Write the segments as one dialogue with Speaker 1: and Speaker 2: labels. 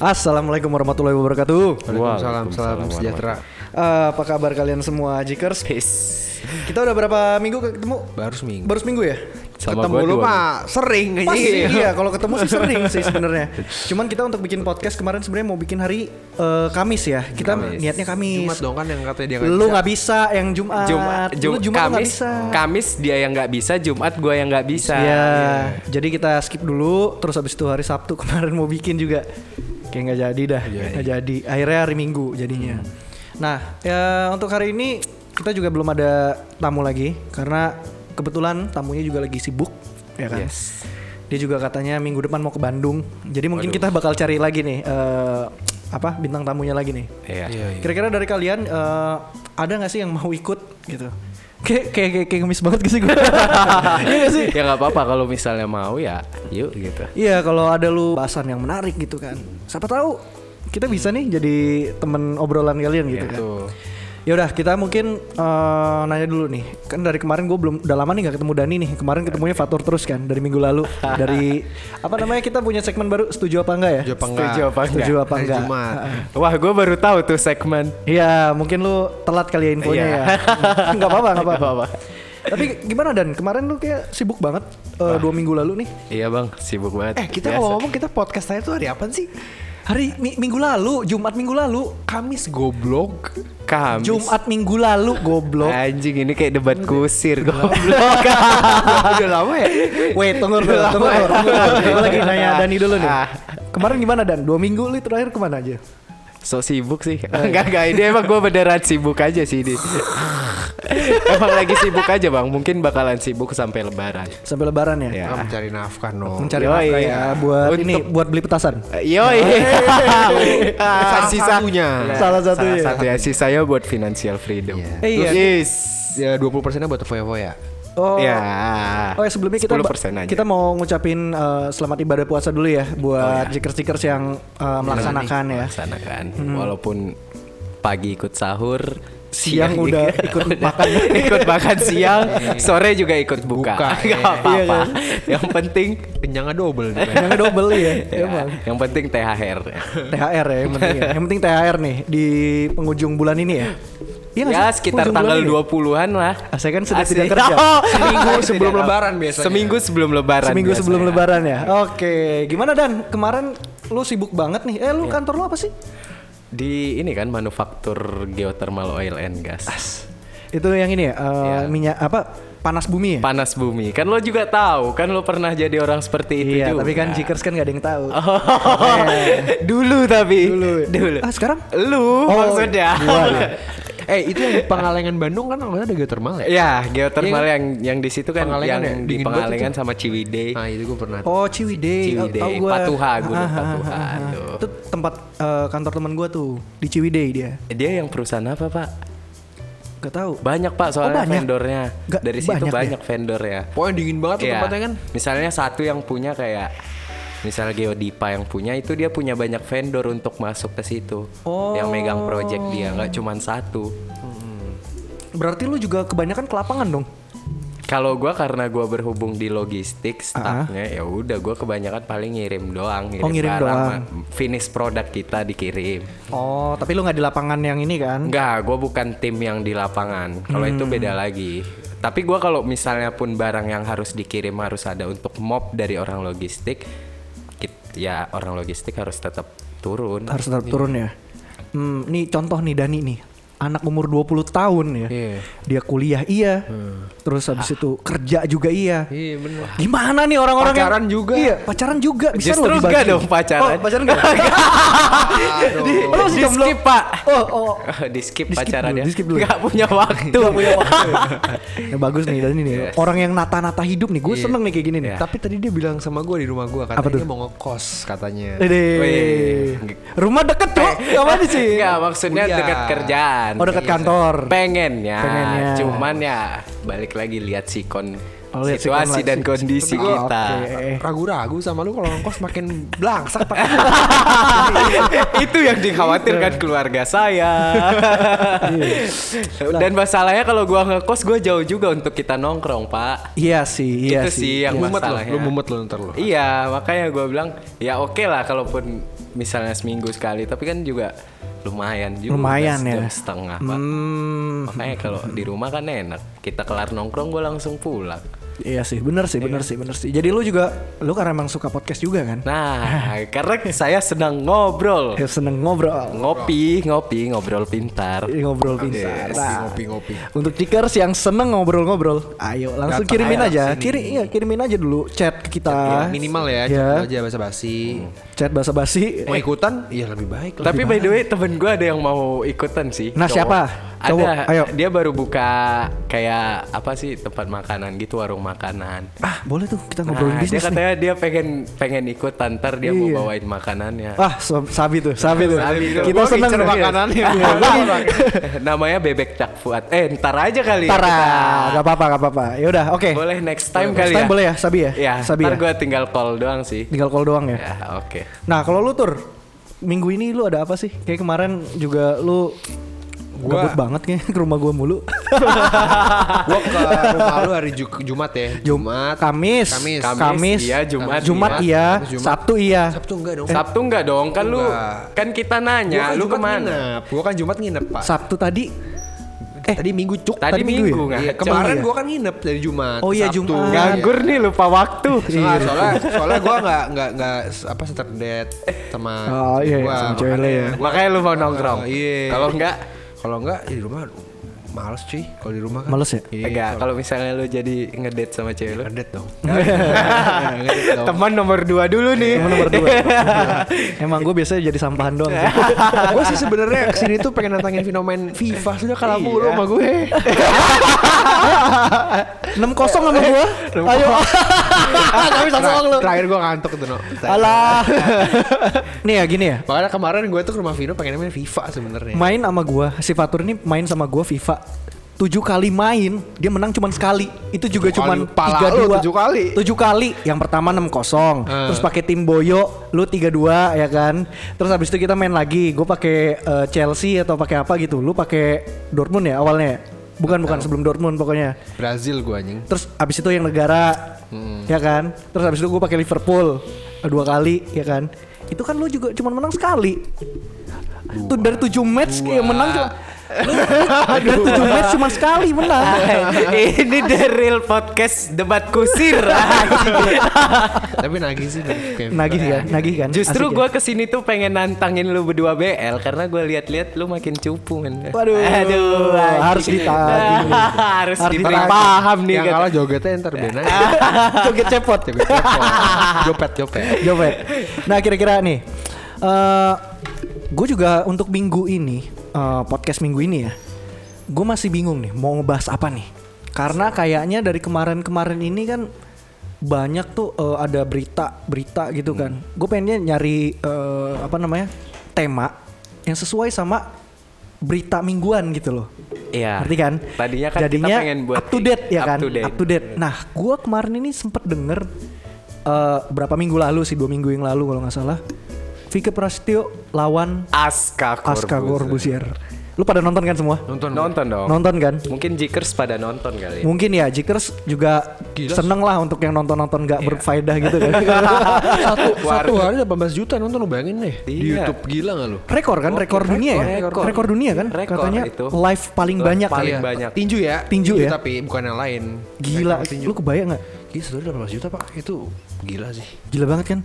Speaker 1: Assalamualaikum warahmatullahi wabarakatuh.
Speaker 2: Waalaikumsalam,
Speaker 3: Waalaikumsalam
Speaker 2: salam sejahtera.
Speaker 1: Eh, apa kabar kalian semua Jikers? Kita udah berapa minggu ketemu?
Speaker 2: Baru seminggu.
Speaker 1: Baru seminggu ya?
Speaker 3: Sama
Speaker 2: Ketemu
Speaker 3: gua
Speaker 2: lu
Speaker 3: dua
Speaker 2: mah sering
Speaker 1: Pas sih,
Speaker 2: anjing.
Speaker 1: iya kalau ketemu sih sering sih sebenarnya. Cuman kita untuk bikin podcast kemarin sebenarnya mau bikin hari eh, Kamis ya. Kita niatnya Kamis.
Speaker 2: Jumat dong kan yang katanya dia
Speaker 1: Lu nggak bisa yang Jumat.
Speaker 3: Jumat, Jum-
Speaker 1: Lu Jumat nggak
Speaker 3: Kamis,
Speaker 1: bisa.
Speaker 3: Kamis dia yang nggak bisa, Jumat gua yang nggak bisa.
Speaker 1: Iya. Jadi kita skip dulu terus habis itu hari Sabtu kemarin mau bikin juga. Kayak nggak jadi dah.
Speaker 3: Iya,
Speaker 1: Nggak jadi. Akhirnya hari Minggu jadinya.
Speaker 3: Hmm.
Speaker 1: Nah, ya untuk hari ini kita juga belum ada tamu lagi karena kebetulan tamunya juga lagi sibuk ya kan.
Speaker 3: Yes.
Speaker 1: Dia juga katanya minggu depan mau ke Bandung. Jadi mungkin kita bakal cari lagi nih eh, apa bintang tamunya lagi nih.
Speaker 3: Iya.
Speaker 2: Iya, iya.
Speaker 1: Kira-kira dari kalian eh, ada nggak sih yang mau ikut gitu? Kayak kayak kayak, kayak ngemis banget gak sih gue? Iya nggak sih?
Speaker 3: ya nggak apa-apa kalau misalnya mau ya, yuk gitu.
Speaker 1: Iya kalau ada lu bahasan yang menarik gitu kan. Siapa tahu kita bisa
Speaker 2: Hmm.
Speaker 1: nih jadi temen obrolan kalian gitu kan.
Speaker 2: Tuh.
Speaker 1: Ya udah kita mungkin eh, nanya dulu nih. Kan dari kemarin gue belum udah lama nih nggak ketemu Dani nih. Kemarin ketemunya Fatur terus kan dari minggu lalu. dari apa namanya kita punya segmen baru setuju apa enggak ya?
Speaker 2: Setuju apa enggak?
Speaker 3: Setuju apa enggak?
Speaker 1: Setuju apa
Speaker 2: Hari
Speaker 1: enggak?
Speaker 2: Eh, Jumat.
Speaker 3: Wah, gua baru tahu tuh segmen.
Speaker 1: Iya, mungkin lu telat kali ya infonya
Speaker 3: Iya.
Speaker 1: ya. Enggak apa-apa, enggak apa-apa.
Speaker 3: Nggak apa-apa.
Speaker 1: Tapi gimana Dan? Kemarin lu kayak sibuk banget eh, dua minggu lalu nih.
Speaker 3: Iya bang, sibuk banget.
Speaker 2: Eh kita
Speaker 3: Biasa.
Speaker 2: kalau ngomong kita podcast saya tuh hari apa sih?
Speaker 1: Hari mi- minggu lalu, Jumat minggu lalu.
Speaker 2: Kamis goblok.
Speaker 3: Kamis. Eh.
Speaker 1: Jumat minggu lalu goblok. Oh,
Speaker 3: Anjing ini kayak debat kusir goblok.
Speaker 2: Udah lama ya?
Speaker 1: Wait, tunggu dulu, tunggu dulu. tunggu dulu. Gua lagi nanya Dani dulu nih. Kemarin gimana Dan? Dua minggu lu terakhir kemana aja?
Speaker 3: So sibuk sih.
Speaker 1: Oh, iya.
Speaker 3: Enggak enggak ini emang gua beneran sibuk aja sih ini. emang lagi sibuk aja bang. Mungkin bakalan sibuk sampai lebaran.
Speaker 1: Sampai lebaran ya?
Speaker 3: Iya.
Speaker 2: Ah, Mencari nafkah no.
Speaker 1: Mencari
Speaker 3: Yoi.
Speaker 1: nafkah ya buat
Speaker 3: Untuk-
Speaker 1: ini, buat beli petasan.
Speaker 3: Eh, Yoi.
Speaker 2: Salah satunya.
Speaker 1: Salah satu
Speaker 3: Salah
Speaker 1: ya.
Speaker 3: satu ya sisanya buat financial freedom.
Speaker 2: Iya.
Speaker 1: Eh, iya.
Speaker 3: Yes.
Speaker 2: Ya 20 persennya buat foya-foya.
Speaker 1: Oh.
Speaker 3: Ya.
Speaker 1: Oh ya sebelumnya kita
Speaker 3: 10% aja.
Speaker 1: kita mau ngucapin eh, selamat ibadah puasa dulu ya buat jikers-jikers yang eh, melaksanakan ya.
Speaker 3: laksanakan kan. walaupun pagi ikut sahur
Speaker 1: Siang udah ikut makan.
Speaker 3: ikut makan siang sore juga ikut buka,
Speaker 2: Buka,
Speaker 3: Nggak
Speaker 2: iya.
Speaker 1: Iya
Speaker 3: apa-apa
Speaker 1: kan?
Speaker 3: yang penting
Speaker 2: Kenyangnya double. nih.
Speaker 1: Yang double ya,
Speaker 3: ya,
Speaker 1: emang.
Speaker 3: yang penting THR
Speaker 1: THR ya yang penting ya. Yang penting THR nih di penghujung bulan ini ya. Iya nggak
Speaker 3: ya
Speaker 1: sih?
Speaker 3: sekitar
Speaker 1: Penghujung bulan
Speaker 3: tanggal
Speaker 1: ini.
Speaker 3: 20-an lah
Speaker 1: Ah, saya kan sudah
Speaker 3: Asik.
Speaker 1: tidak kerja.
Speaker 2: Seminggu sebelum
Speaker 3: Tidak.
Speaker 2: lebaran biasanya.
Speaker 3: seminggu sebelum lebaran
Speaker 1: Seminggu
Speaker 3: biasanya.
Speaker 1: sebelum lebaran ya. Oke, gimana Dan? Kemarin lu sibuk banget nih. Eh, lu
Speaker 3: Iya.
Speaker 1: kantor lu apa sih?
Speaker 3: di ini kan manufaktur geothermal oil and gas
Speaker 1: Itu yang ini ya, eh,
Speaker 3: Iya.
Speaker 1: minyak apa? Panas bumi ya?
Speaker 3: panas bumi kan lo juga tahu kan lo pernah jadi orang seperti itu
Speaker 1: iya,
Speaker 3: juga.
Speaker 1: tapi kan Jikers kan gak ada yang tahu.
Speaker 3: Oh, dulu tapi
Speaker 1: Dulu. ya?
Speaker 3: dulu
Speaker 1: Ah, sekarang?
Speaker 3: lu
Speaker 1: Oh,
Speaker 3: maksudnya
Speaker 1: gua ya.
Speaker 2: eh itu yang di Pangalengan Bandung kan kalau nggak salah ada geothermal ya?
Speaker 3: ya geothermal
Speaker 2: Iya
Speaker 3: yang yang di situ kan
Speaker 2: Pangalengan
Speaker 3: yang
Speaker 2: ya?
Speaker 3: di
Speaker 2: Dingin banget
Speaker 3: Pengalengan sama Ciwidey
Speaker 2: Nah itu gue pernah.
Speaker 1: Oh, Ciwidey. Oh,
Speaker 3: Ciwidey.
Speaker 1: tahu gua.
Speaker 3: Patuha, Gunung
Speaker 1: Ah, ah,
Speaker 3: Patuha
Speaker 1: ah, ah.
Speaker 3: tuh.
Speaker 1: Itu tempat eh, kantor teman gua tuh di Ciwidey dia.
Speaker 3: dia yang perusahaan apa pak
Speaker 1: Gak tahu.
Speaker 3: banyak pak soalnya
Speaker 1: Oh, banyak.
Speaker 3: vendornya
Speaker 1: Nggak,
Speaker 3: dari situ
Speaker 1: banyak ya?
Speaker 3: banyak vendor ya
Speaker 2: Pokoknya dingin banget tuh
Speaker 3: Iya.
Speaker 2: tempatnya kan.
Speaker 3: misalnya satu yang punya kayak misalnya Geodipa yang punya itu dia punya banyak vendor untuk masuk ke situ
Speaker 1: Oh.
Speaker 3: yang megang project dia nggak cuman satu
Speaker 1: Berarti lu juga kebanyakan ke lapangan dong.
Speaker 3: Kalau gua karena gua berhubung di logistik staffnya ya udah gua kebanyakan paling ngirim doang, ngirim,
Speaker 1: Oh, ngirim doang.
Speaker 3: ma- finish produk kita dikirim.
Speaker 1: Oh, tapi lu nggak di lapangan yang ini kan?
Speaker 3: Enggak, gua bukan tim yang di lapangan. Kalau itu
Speaker 1: Hmm.
Speaker 3: beda lagi. Tapi gua kalau misalnya pun barang yang harus dikirim harus ada untuk mob dari orang logistik, kit- ya orang logistik harus tetap turun.
Speaker 1: harus tetap turun ya. Hmm, nih contoh nih Dani nih, anak umur 20 tahun ya.
Speaker 2: Iya.
Speaker 1: Dia kuliah iya.
Speaker 3: Hmm.
Speaker 1: Terus habis
Speaker 3: Ah.
Speaker 1: itu kerja juga iya.
Speaker 2: Iya bener.
Speaker 1: Gimana nih orang-orang yang-
Speaker 2: Pacaran juga.
Speaker 1: Iya, pacaran juga bisa
Speaker 3: Justru
Speaker 1: loh dibagi.
Speaker 3: enggak dong pacaran.
Speaker 1: Oh, pacaran enggak.
Speaker 3: di,
Speaker 1: Oh, lu masih
Speaker 3: di
Speaker 1: jomblo?
Speaker 3: skip pak.
Speaker 1: oh, oh.
Speaker 3: di skip
Speaker 1: Di skip dulu,
Speaker 3: pacarannya.
Speaker 1: di skip dulu. ya.
Speaker 3: Nggak punya waktu.
Speaker 1: punya waktu. Nah, bagus nih Dani nih. Orang yang nata-nata hidup nih, gue
Speaker 3: Iya.
Speaker 2: Iya.
Speaker 1: seneng nih kayak gini nih.
Speaker 2: Tapi tadi dia bilang sama gue di rumah gue katanya
Speaker 1: Apa tuh?
Speaker 2: dia mau ngekos katanya.
Speaker 3: Oh,
Speaker 1: Dede.
Speaker 3: iya, Wih.
Speaker 1: Rumah deket tuh, ngapain sih?
Speaker 3: Enggak, maksudnya
Speaker 2: Kuliah.
Speaker 3: dekat kerjaan. ya.
Speaker 1: Oh, dekat kantor.
Speaker 3: Pengennya,
Speaker 1: Pengennya.
Speaker 3: cuman ya balik lagi lihat sikon
Speaker 1: Oh, lihat
Speaker 3: situasi
Speaker 1: sih,
Speaker 3: dan
Speaker 1: sih,
Speaker 3: kondisi
Speaker 1: sih. Oh,
Speaker 3: kita.
Speaker 1: oke.
Speaker 2: Ragu-ragu sama lu kalau ngkos makin blangsak pak.
Speaker 3: itu yang dikhawatirkan
Speaker 1: Iya.
Speaker 3: keluarga saya.
Speaker 1: Iya.
Speaker 3: Dan masalahnya kalau gua ngekos gua jauh juga untuk kita nongkrong, Pak.
Speaker 1: Iya sih, iya
Speaker 3: itu sih yang
Speaker 2: Mumet lu,
Speaker 3: masalahnya.
Speaker 2: lu mumet lu ntar lu.
Speaker 3: Iya, makanya gua bilang ya oke lah kalaupun misalnya seminggu sekali, tapi kan juga lumayan juga
Speaker 1: Lumayan
Speaker 3: jam
Speaker 1: ya.
Speaker 3: setengah, Pak.
Speaker 1: Hmm,
Speaker 3: Makanya kalau di rumah kan enak. Kita kelar nongkrong gua langsung pulang.
Speaker 1: iya sih, bener sih, bener sih, bener sih. Jadi lu juga, lu karena emang suka podcast juga kan?
Speaker 3: Nah, karena saya sedang ngobrol.
Speaker 1: Ya, seneng ngobrol,
Speaker 3: Ngopi, ngopi, ngobrol
Speaker 1: Iya.
Speaker 3: pintar.
Speaker 1: ngobrol pintar. Nah,
Speaker 2: Ngopi-ngopi.
Speaker 1: Untuk tikers yang seneng ngobrol-ngobrol, ayo langsung
Speaker 2: Datang
Speaker 1: kirimin
Speaker 2: aja
Speaker 1: aja.
Speaker 2: sini.
Speaker 1: Kiri, iya, kirimin aja dulu chat ke kita.
Speaker 2: Minimal ya,
Speaker 1: Iya.
Speaker 2: cuma aja basa-basi.
Speaker 1: Chat bahasa-basi.
Speaker 2: Mau ikutan? Iya lebih baik. lah.
Speaker 3: Tapi by the way temen gue ada yang mau ikutan sih.
Speaker 1: Nah, siapa?
Speaker 3: Ada.
Speaker 1: Cowok, ayo.
Speaker 3: Dia baru buka kayak apa sih tempat makanan gitu warung makanan.
Speaker 1: Ah, boleh tuh kita
Speaker 3: Nah,
Speaker 1: ngobrolin
Speaker 3: dia
Speaker 1: bisnis nih.
Speaker 3: katanya dia pengen pengen ikutan ntar dia mau
Speaker 1: Iya.
Speaker 3: bawain makanannya.
Speaker 1: Ah, so- sabi tuh, sabi tuh.
Speaker 3: Sabi tuh.
Speaker 1: Kita
Speaker 2: Gua
Speaker 1: seneng
Speaker 2: ngincer
Speaker 1: nih.
Speaker 2: makanannya.
Speaker 1: Iya, gua ngincer.
Speaker 3: Namanya bebek takfuat. Eh ntar aja kali.
Speaker 1: Ntar ah,
Speaker 3: kita.
Speaker 1: gak apa-apa, gak apa-apa. Ya udah, oke.
Speaker 3: Boleh next time
Speaker 1: Next
Speaker 3: kali
Speaker 1: time
Speaker 3: ya.
Speaker 1: boleh ya, Sabi ya?
Speaker 3: Ya,
Speaker 1: Sabi ya?
Speaker 3: ntar gue tinggal call doang sih.
Speaker 1: Tinggal call doang ya.
Speaker 3: Ya oke.
Speaker 1: Nah, kalau lu tur minggu ini lu ada apa sih? Kayak kemarin juga lu
Speaker 2: Gua-
Speaker 1: gabut banget kayaknya ke rumah gua mulu.
Speaker 2: Gua ke rumah lu hari Ju- Jumat ya.
Speaker 1: Jumat, Kamis,
Speaker 2: Kamis.
Speaker 1: Kamis,
Speaker 3: iya, Jumat,
Speaker 1: Jumat
Speaker 3: iya.
Speaker 1: iya,
Speaker 2: Habis Jumat.
Speaker 1: Sabtu iya.
Speaker 2: Sabtu enggak dong.
Speaker 3: Sabtu nggak dong kan lu
Speaker 2: Nggak.
Speaker 3: kan kita
Speaker 2: Gua
Speaker 3: nanya
Speaker 2: kan
Speaker 3: lu
Speaker 2: Jumat
Speaker 3: kemana?
Speaker 2: nginep. Gua kan Jumat nginep, Pak.
Speaker 1: Sabtu tadi eh
Speaker 2: Tadi Minggu cuk.
Speaker 3: Tadi,
Speaker 1: Tadi minggu
Speaker 3: minggu,
Speaker 1: ya?
Speaker 3: nggak
Speaker 2: Iya,
Speaker 3: ngecek.
Speaker 2: kemarin
Speaker 1: iya.
Speaker 2: gua kan nginep dari Jumat.
Speaker 1: Oh
Speaker 2: ke
Speaker 1: iya,
Speaker 2: Sabtu.
Speaker 1: Jumat. Iya.
Speaker 2: Iya.
Speaker 3: Nganggur nih lupa waktu.
Speaker 2: Soalnya, soalnya, soalnya gue nggak nggak nggak s- apa seterdet sama
Speaker 1: Oh, iya,
Speaker 2: gua,
Speaker 1: sama cewek lu
Speaker 2: makanya
Speaker 1: ya.
Speaker 2: gua-
Speaker 3: Makanya lu mau nongkrong.
Speaker 2: Ah, iya.
Speaker 3: Kalau enggak
Speaker 2: Kalau nggak ya di rumah aduh, males cuy. Kalau di rumah kan
Speaker 1: Males ya?
Speaker 2: Iya,
Speaker 3: enggak kalau misalnya lu jadi ngedate sama cewek lu.
Speaker 2: Seterdet dong.
Speaker 3: Teman nomor dua dulu nih.
Speaker 1: Emang nomor dua. Emang gue biasanya jadi sampahan doang. sih.
Speaker 2: gue sih sebenarnya kesini tuh pengen nantangin fenomen FIFA sudah kalah
Speaker 3: Iya.
Speaker 2: mulu sama gue.
Speaker 1: 6-0 sama gue. Ayo. Ah,
Speaker 2: Ah,
Speaker 1: Tapi sama lu.
Speaker 2: Terakhir gue ngantuk tuh no.
Speaker 1: Alah. Nih ya gini ya.
Speaker 2: Makanya kemarin gue tuh ke rumah Vino pengen main FIFA sebenarnya.
Speaker 1: Main sama gue. Si Fatur ini main sama gue FIFA. 7 kali main, dia menang cuman sekali. Itu juga
Speaker 2: Tujuh
Speaker 1: cuman
Speaker 2: kali, pala
Speaker 1: 3-2.
Speaker 2: lu tujuh kali.
Speaker 1: 7 kali. Yang pertama 6-0.
Speaker 2: Eh.
Speaker 1: Terus pakai tim Boyo, lu 3-2 ya kan. Terus habis itu kita main lagi. Gue pakai eh, Chelsea atau pakai apa gitu. Lu pakai Dortmund ya awalnya. ya? Bukan bukan sebelum Dortmund pokoknya.
Speaker 2: Brazil gue anjing.
Speaker 1: Terus abis itu yang negara, ya kan? Terus abis itu gue pakai Liverpool eh, dua kali, ya kan? Itu kan lu juga cuma menang sekali. Tuh dari tujuh match kayak menang cuma dari tujuh match cuma sekali menang.
Speaker 3: Ini the real podcast debat kusir.
Speaker 2: Tapi nagih sih. kayak
Speaker 1: nagih
Speaker 2: FIFA.
Speaker 1: ya, nagih kan.
Speaker 3: Justru
Speaker 1: Asik ya?
Speaker 3: gue kesini tuh pengen nantangin lu berdua BL karena gue lihat-lihat lu makin cupu men.
Speaker 1: Waduh,
Speaker 3: anjing.
Speaker 1: harus ditagih. Harus
Speaker 3: harus diberi
Speaker 1: ditagih.
Speaker 3: paham nih.
Speaker 2: Yang
Speaker 3: kata-
Speaker 2: kalah jogetnya ntar Ben aja.
Speaker 1: joget cepot.
Speaker 2: gitu. Joget cepot. Jopet jopet.
Speaker 1: Jopet. Nah kira-kira nih, eh gue juga untuk minggu ini eh, podcast minggu ini ya, gue masih bingung nih mau ngebahas apa nih. Karena kayaknya dari kemarin-kemarin ini kan banyak tuh eh, ada berita-berita gitu kan.
Speaker 3: Hmm.
Speaker 1: Gue pengennya nyari eh, apa namanya tema yang sesuai sama berita mingguan gitu loh.
Speaker 3: Iya.
Speaker 1: Ngerti kan?
Speaker 3: Tadinya kan
Speaker 1: Jadinya
Speaker 3: kita pengen buat
Speaker 1: up to date ya
Speaker 3: up
Speaker 1: kan?
Speaker 3: to date.
Speaker 1: Up to date. Nah, gua kemarin ini sempet denger eh, berapa minggu lalu sih, dua minggu yang lalu kalau nggak salah, Vicky Prasetyo lawan
Speaker 3: Aska Corbuzier.
Speaker 1: Aska Corbuzier. Lu pada nonton kan semua?
Speaker 3: Nonton, dong.
Speaker 1: Nonton kan?
Speaker 3: Oh. Mungkin Jikers pada nonton kali. ya.
Speaker 1: Mungkin ya Jikers juga seneng lah untuk yang nonton-nonton
Speaker 3: Iya.
Speaker 1: gak berfaedah gitu kan.
Speaker 2: Satu,
Speaker 3: Warna.
Speaker 2: satu hari 18 juta nonton lu bayangin deh. Di
Speaker 3: Iya.
Speaker 2: YouTube gila gak lu?
Speaker 1: rekor kan, rekor dunia ya?
Speaker 3: rekor.
Speaker 1: Rekor, dunia kan?
Speaker 3: Rekor
Speaker 1: Katanya
Speaker 3: itu.
Speaker 1: live paling
Speaker 3: Live
Speaker 1: banyak
Speaker 3: paling
Speaker 1: kan?
Speaker 3: banyak.
Speaker 2: Tinju ya.
Speaker 1: Tinju ya?
Speaker 2: Tapi bukan yang lain.
Speaker 1: Gila,
Speaker 2: Rekor tinju.
Speaker 1: lu kebayang gak?
Speaker 2: Gila satu hari 18 juta pak. Itu gila sih.
Speaker 1: Gila banget kan?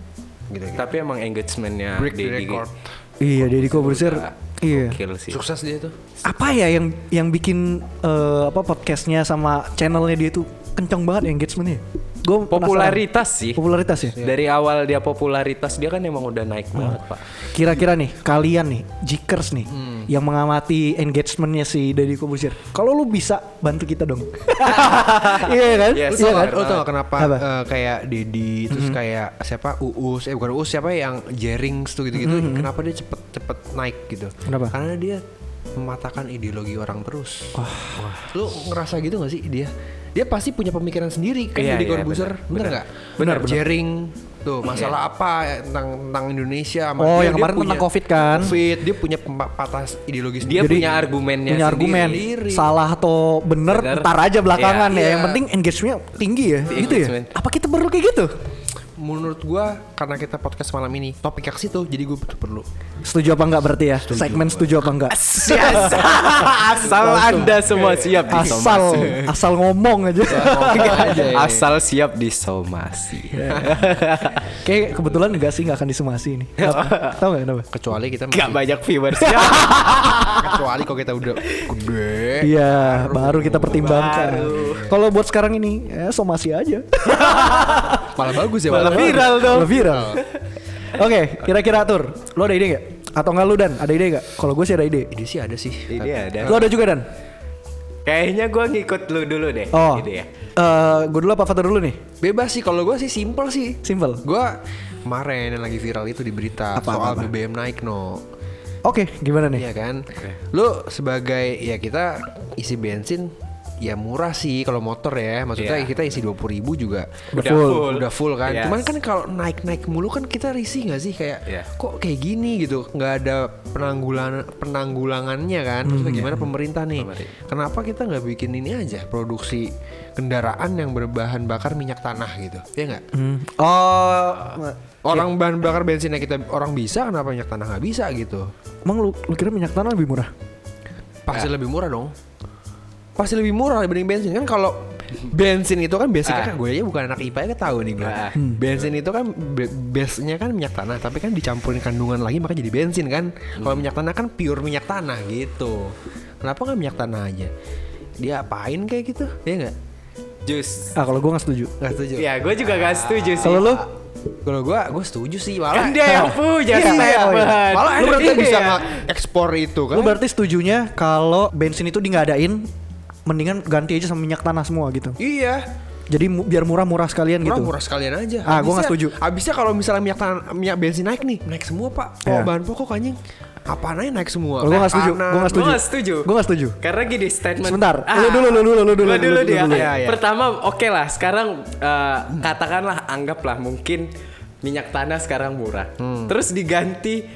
Speaker 2: Gila gila.
Speaker 3: Tapi emang engagementnya
Speaker 2: Break the
Speaker 3: di, di-
Speaker 2: record.
Speaker 1: Iya, Deddy Corbuzier. Iya.
Speaker 3: gokil sih.
Speaker 2: Sukses dia tuh.
Speaker 1: apa ya yang yang bikin eh, apa podcastnya sama channelnya dia tuh kencang banget ya, engagementnya gue
Speaker 3: Popularitas sih. Iya.
Speaker 1: popularitas ya
Speaker 3: Dari awal dia popularitas dia kan emang udah naik banget
Speaker 1: Hmm.
Speaker 3: pak.
Speaker 1: kira-kira nih kalian nih jikers nih yang mengamati engagementnya si Deddy Corbuzier kalau lu bisa bantu kita dong iya kan
Speaker 3: Yes,
Speaker 1: iya kan
Speaker 2: Lu tau gak kenapa
Speaker 1: Apa?
Speaker 2: eh, kayak Dedi terus
Speaker 3: Mm-hmm.
Speaker 2: kayak siapa Uus eh bukan Uus siapa yang Jerings tuh gitu-gitu kenapa dia cepet-cepet naik gitu?
Speaker 1: Mm-hmm. Kenapa?
Speaker 2: Karena dia mematahkan ideologi orang terus. Wah. Lu ngerasa gitu gak sih dia? dia pasti punya pemikiran sendiri kan
Speaker 3: Iya,
Speaker 2: jadi
Speaker 3: iya,
Speaker 2: Corbuzier
Speaker 3: benar, Iya.
Speaker 2: bener nggak
Speaker 1: Benar, benar.
Speaker 2: Jering tuh masalah apa tentang tentang Indonesia sama
Speaker 1: Oh,
Speaker 2: dia,
Speaker 1: yang
Speaker 2: dia
Speaker 1: kemarin tentang COVID kan?
Speaker 2: COVID dia punya pepatah ideologis
Speaker 3: Dia
Speaker 2: sendiri.
Speaker 3: punya argumennya
Speaker 1: punya argumen
Speaker 2: sendiri.
Speaker 1: salah atau bener,
Speaker 3: Bener.
Speaker 1: ntar aja belakangan
Speaker 2: Iya.
Speaker 1: ya yang penting engagementnya tinggi ya gitu ya
Speaker 3: Engagement.
Speaker 1: apa kita perlu kayak gitu
Speaker 2: menurut gua karena kita podcast malam ini topiknya ke situ jadi gua perlu
Speaker 1: setuju apa enggak berarti ya segmen setuju apa enggak
Speaker 3: Yes. asal anda semua siap
Speaker 1: asal
Speaker 3: disomasi.
Speaker 1: asal ngomong aja iya.
Speaker 3: asal siap disomasi
Speaker 1: kayak kebetulan enggak sih enggak akan disumasi nih Kenapa? tahu enggak kenapa
Speaker 2: kecuali kita
Speaker 3: Gak
Speaker 2: masih-
Speaker 3: banyak viewers
Speaker 2: kecuali kalau kita udah gede
Speaker 1: Iya, baru kita pertimbangkan. Kalau buat sekarang ini, ya somasi aja.
Speaker 2: malah bagus ya malah
Speaker 3: Malah viral dong.
Speaker 1: Malah viral. Oke, kira-kira atur. Lo ada ide nggak? Atau nggak lu Dan? Ada ide nggak? Kalau gue sih ada ide.
Speaker 2: ini sih ada sih
Speaker 3: Ide ada.
Speaker 1: Lo ada juga Dan?
Speaker 3: Kayaknya gue ngikut lu dulu deh
Speaker 1: Oh,
Speaker 3: gitu ya.
Speaker 1: Eh, gue dulu apa Fatur dulu nih?
Speaker 2: bebas sih kalau gua sih simple sih
Speaker 1: Simple.
Speaker 2: gua kemarin yang lagi viral itu di berita
Speaker 1: Apa,
Speaker 2: soal
Speaker 1: apa, Eh. apa?
Speaker 2: BBM naik no
Speaker 1: Oke, gimana nih?
Speaker 2: Iya kan lu sebagai ya kita isi bensin ya murah sih kalau motor ya maksudnya
Speaker 3: Iya.
Speaker 2: kita isi dua ribu juga
Speaker 1: Udah full.
Speaker 2: udah full kan.
Speaker 3: Yes.
Speaker 2: Cuman kan kalau naik-naik mulu kan kita risih nggak sih kayak
Speaker 3: Iya.
Speaker 2: kok kayak gini gitu, nggak ada penanggulan penanggulangannya kan. Maksudnya gimana pemerintah nih?
Speaker 3: Pemerintah.
Speaker 2: Kenapa kita nggak bikin ini aja produksi kendaraan yang berbahan bakar minyak tanah gitu? Iya nggak?
Speaker 1: Hmm. Oh,
Speaker 2: Orang bahan bakar bensinnya kita orang bisa, kenapa minyak tanah nggak bisa gitu?
Speaker 1: emang lu, lu kira minyak tanah lebih murah?
Speaker 2: Pasti lebih murah dong. Ya. Pasti lebih murah dibanding bensin kan kalau bensin itu kan basicnya
Speaker 3: Ah.
Speaker 2: kan gue aja bukan anak IPA ya tahu nih gue.
Speaker 3: Ah.
Speaker 2: Bensin itu kan be- base-nya kan minyak tanah tapi kan dicampurin kandungan lagi makanya jadi bensin kan. Kalau
Speaker 3: Hmm.
Speaker 2: minyak tanah kan pure minyak tanah gitu. Kenapa nggak minyak tanah aja? Dia apain kayak gitu? Iya nggak?
Speaker 3: Jus.
Speaker 1: Ah, kalau gue nggak setuju.
Speaker 2: Nggak setuju.
Speaker 3: Ya gue juga gak setuju sih.
Speaker 1: Ah. Kalau lu?
Speaker 2: Kalau gue, gue setuju sih malah.
Speaker 3: Kan dia yang punya
Speaker 1: Iya,
Speaker 3: statement.
Speaker 1: iya.
Speaker 2: Malah lu berarti
Speaker 3: Iya.
Speaker 2: bisa ekspor itu kan?
Speaker 1: Lu berarti setujunya kalau bensin itu di nggak adain, mendingan ganti aja sama minyak tanah semua gitu.
Speaker 2: Iya.
Speaker 1: Jadi mu- biar murah-murah sekalian
Speaker 2: murah
Speaker 1: gitu.
Speaker 2: murah sekalian aja.
Speaker 1: Ah, gua nggak
Speaker 2: Abisnya-
Speaker 1: setuju.
Speaker 2: Abisnya kalau misalnya minyak tan- minyak bensin naik nih, naik semua pak.
Speaker 1: Iya.
Speaker 2: Kalau bahan pokok anjing, apaan aja naik semua.
Speaker 1: Kalau gue Oh, nggak setuju,
Speaker 2: Makanan.
Speaker 1: gue nggak setuju.
Speaker 3: Gua nggak setuju.
Speaker 1: Gue nggak setuju.
Speaker 3: Karena gini statement.
Speaker 1: Sebentar, lu dulu, lu dulu, lu dulu,
Speaker 3: Gua
Speaker 1: lu
Speaker 3: dulu
Speaker 1: dulu,
Speaker 3: dia.
Speaker 1: dulu.
Speaker 2: Iya, iya.
Speaker 3: Pertama, oke lah. Sekarang eh, katakanlah, anggaplah mungkin minyak tanah sekarang murah.
Speaker 1: Hmm.
Speaker 3: Terus diganti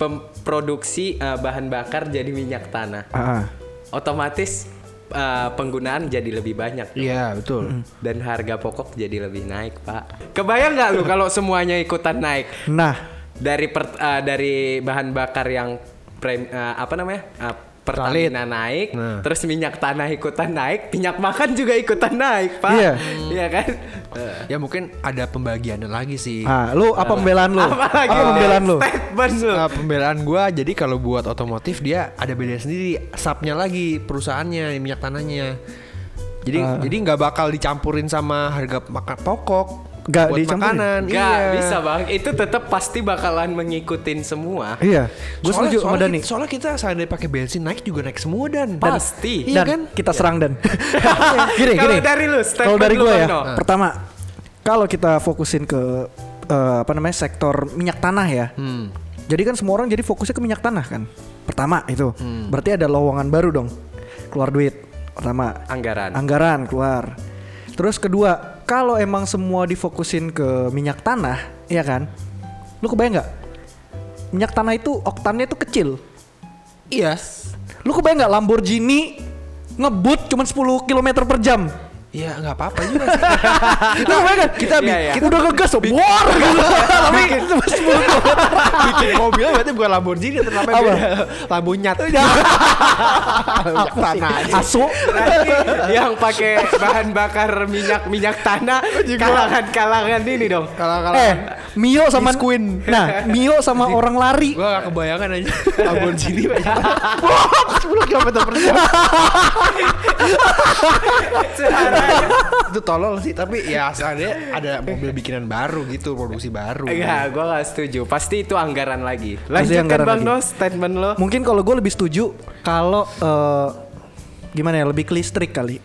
Speaker 3: pem- produksi eh, bahan bakar jadi minyak tanah.
Speaker 1: Ah, ah.
Speaker 3: Otomatis eh, penggunaan jadi lebih banyak.
Speaker 2: Iya betul.
Speaker 3: Dan harga pokok jadi lebih naik, Pak. Kebayang nggak lu kalau semuanya ikutan naik?
Speaker 1: Nah,
Speaker 3: dari per- eh, dari bahan bakar yang prem- eh, apa namanya Eh, Pertamina naik,
Speaker 2: Nah.
Speaker 3: terus minyak tanah ikutan naik, minyak makan juga ikutan naik, pak.
Speaker 1: Iya.
Speaker 3: Iya kan?
Speaker 2: Ya mungkin ada pembagiannya lagi sih.
Speaker 1: ah, lu apa pembelaan lu?
Speaker 3: Apa lagi?
Speaker 1: pembelaan lu?
Speaker 3: Statement lu.
Speaker 2: Oh, Nah, pembelaan gua jadi kalau buat otomotif dia ada beda sendiri sapnya lagi perusahaannya minyak tanahnya jadi
Speaker 1: Ah.
Speaker 2: jadi nggak bakal dicampurin sama harga makan pokok
Speaker 1: Nggak
Speaker 2: buat
Speaker 1: dicampurin?
Speaker 2: makanan
Speaker 3: Nggak
Speaker 2: iya.
Speaker 3: bisa bang. Itu tetap pasti bakalan mengikutin semua.
Speaker 1: Iya, gue
Speaker 2: Soalnya-
Speaker 1: setuju sama
Speaker 2: soalnya
Speaker 1: Dani.
Speaker 2: kita- Soalnya kita seandainya pakai bensin naik juga naik semua dan
Speaker 3: Dan- Pasti.
Speaker 1: dan
Speaker 2: Iya kan?
Speaker 1: kita serang dan gini
Speaker 3: Kalau
Speaker 1: gini
Speaker 3: dari lu, statement
Speaker 1: kalau dari
Speaker 3: lu,
Speaker 1: gue ya
Speaker 3: Bang No.
Speaker 1: pertama kalau kita fokusin ke eh, apa namanya sektor minyak tanah ya
Speaker 3: Hmm.
Speaker 1: jadi kan semua orang jadi fokusnya ke minyak tanah kan pertama itu
Speaker 3: Hmm.
Speaker 1: berarti ada lowongan baru dong keluar duit pertama
Speaker 3: Anggaran.
Speaker 1: anggaran keluar terus kedua kalau emang semua difokusin ke minyak tanah ya kan lu kebayang nggak minyak tanah itu oktannya itu kecil
Speaker 2: Iya.
Speaker 1: Lu kebayang nggak Lamborghini ngebut cuma 10 km per jam?
Speaker 2: Iya, nggak apa-apa juga sih.
Speaker 1: Kita, lu kebayang nggak? Kita,
Speaker 3: bi-
Speaker 1: kita udah ngegas, war gitu. Tapi cuma 10 km.
Speaker 2: Bikin mobilnya berarti bukan Lamborghini atau namanya
Speaker 1: Apa?
Speaker 2: beda. Lambo nyat. Minyak tanah aja.
Speaker 1: Asu.
Speaker 3: Berarti yang pakai bahan bakar minyak minyak tanah kalangan-kalangan ini dong.
Speaker 2: Kalau kalau
Speaker 1: Eh, Mio sama Queen. Nah, Mio sama orang lari.
Speaker 2: gua gak kebayangan aja Lamborghini banyak. Wah, 10 km per jam.
Speaker 3: Eh,
Speaker 2: Itu tolol sih, tapi ya seandainya ada mobil bikinan baru gitu, produksi baru.
Speaker 3: Enggak, gue gak Iya, setuju. Pasti itu anggaran lagi.
Speaker 1: Pasti
Speaker 3: Lanjutkan
Speaker 1: anggaran
Speaker 3: Bang
Speaker 1: lagi.
Speaker 3: Nos, statement lo.
Speaker 1: Mungkin kalau gue lebih setuju kalau eh, gimana ya lebih ke listrik kali.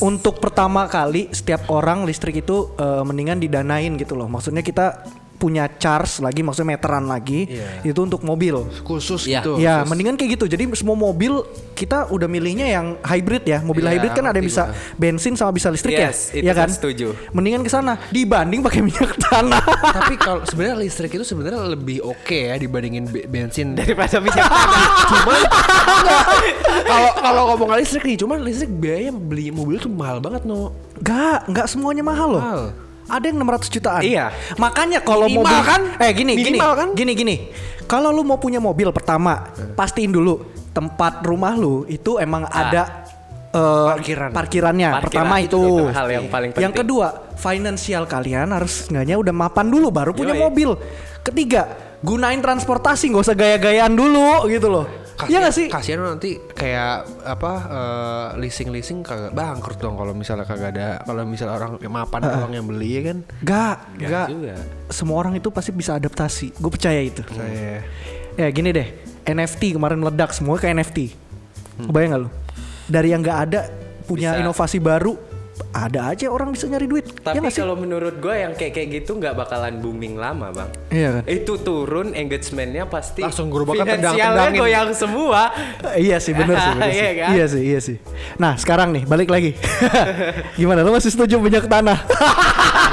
Speaker 1: Untuk pertama kali setiap orang listrik itu eh, mendingan didanain gitu loh. Maksudnya kita punya charge lagi maksudnya meteran lagi
Speaker 2: Iya.
Speaker 1: itu untuk mobil.
Speaker 2: khusus
Speaker 3: Iya.
Speaker 2: gitu.
Speaker 1: Ya, mendingan kayak gitu. Jadi semua mobil kita udah milihnya yang hybrid ya. Mobil
Speaker 2: Iya,
Speaker 1: hybrid kan ada yang
Speaker 2: ngerti
Speaker 1: bisa bensin sama bisa listrik
Speaker 3: Yes,
Speaker 1: ya.
Speaker 3: itu
Speaker 1: Iya kan?
Speaker 3: saya setuju.
Speaker 1: Mendingan ke sana dibanding pakai minyak tanah.
Speaker 2: Tapi kalau sebenarnya listrik itu sebenarnya lebih oke ya dibandingin be- bensin.
Speaker 3: daripada minyak
Speaker 2: Kalau kalau ngomong listrik nih, cuman listrik biaya beli mobil tuh mahal banget no.
Speaker 1: Enggak, enggak semuanya mahal loh.
Speaker 2: Mahal.
Speaker 1: Ada yang 600 jutaan.
Speaker 3: Iya.
Speaker 1: Makanya kalau
Speaker 2: Minimal
Speaker 1: mobil
Speaker 2: kan?
Speaker 1: eh gini
Speaker 2: Minimal
Speaker 1: gini
Speaker 2: kan?
Speaker 1: gini gini. Kalau lu mau punya mobil pertama, pastiin dulu tempat rumah lu itu emang ada eh,
Speaker 2: Parkiran.
Speaker 1: Parkirannya
Speaker 3: Ah. Parkiran
Speaker 1: pertama
Speaker 3: itu
Speaker 1: itu.
Speaker 3: hal yang paling
Speaker 1: Yang
Speaker 3: penting.
Speaker 1: kedua, finansial kalian harus seenggaknya udah mapan dulu baru punya
Speaker 3: Yoi.
Speaker 1: mobil. Ketiga, gunain transportasi nggak usah gaya-gayaan dulu gitu loh. Iya gak sih?
Speaker 2: Kasihan lo nanti kayak apa leasing leasing kagak bangkrut dong kalau misalnya kagak ada kalau misalnya orang yang mapan
Speaker 1: Ah.
Speaker 2: orang yang beli ya kan.
Speaker 1: Gak,
Speaker 3: Nggak
Speaker 1: gak.
Speaker 3: juga.
Speaker 1: Semua orang itu pasti bisa adaptasi. Gue percaya itu.
Speaker 2: Saya
Speaker 1: Ya gini deh, NFT kemarin meledak semua ke NFT.
Speaker 2: Hmm.
Speaker 1: Kebayang gak lu? Dari yang gak ada punya
Speaker 3: Bisa.
Speaker 1: inovasi baru, ada aja orang bisa nyari duit. ya
Speaker 3: Tapi
Speaker 1: gak sih?
Speaker 3: kalau menurut gue yang kayak kayak gitu nggak bakalan booming lama bang.
Speaker 1: Iya kan?
Speaker 3: Itu turun engagementnya pasti.
Speaker 2: Langsung gerobakan
Speaker 3: finansialnya
Speaker 2: tendang-tendangin.
Speaker 3: goyang semua.
Speaker 1: Eh, iya sih bener sih, bener sih.
Speaker 3: Iya kan?
Speaker 1: Iya sih, iya sih. Nah sekarang nih balik lagi. Gimana lu masih setuju minyak tanah?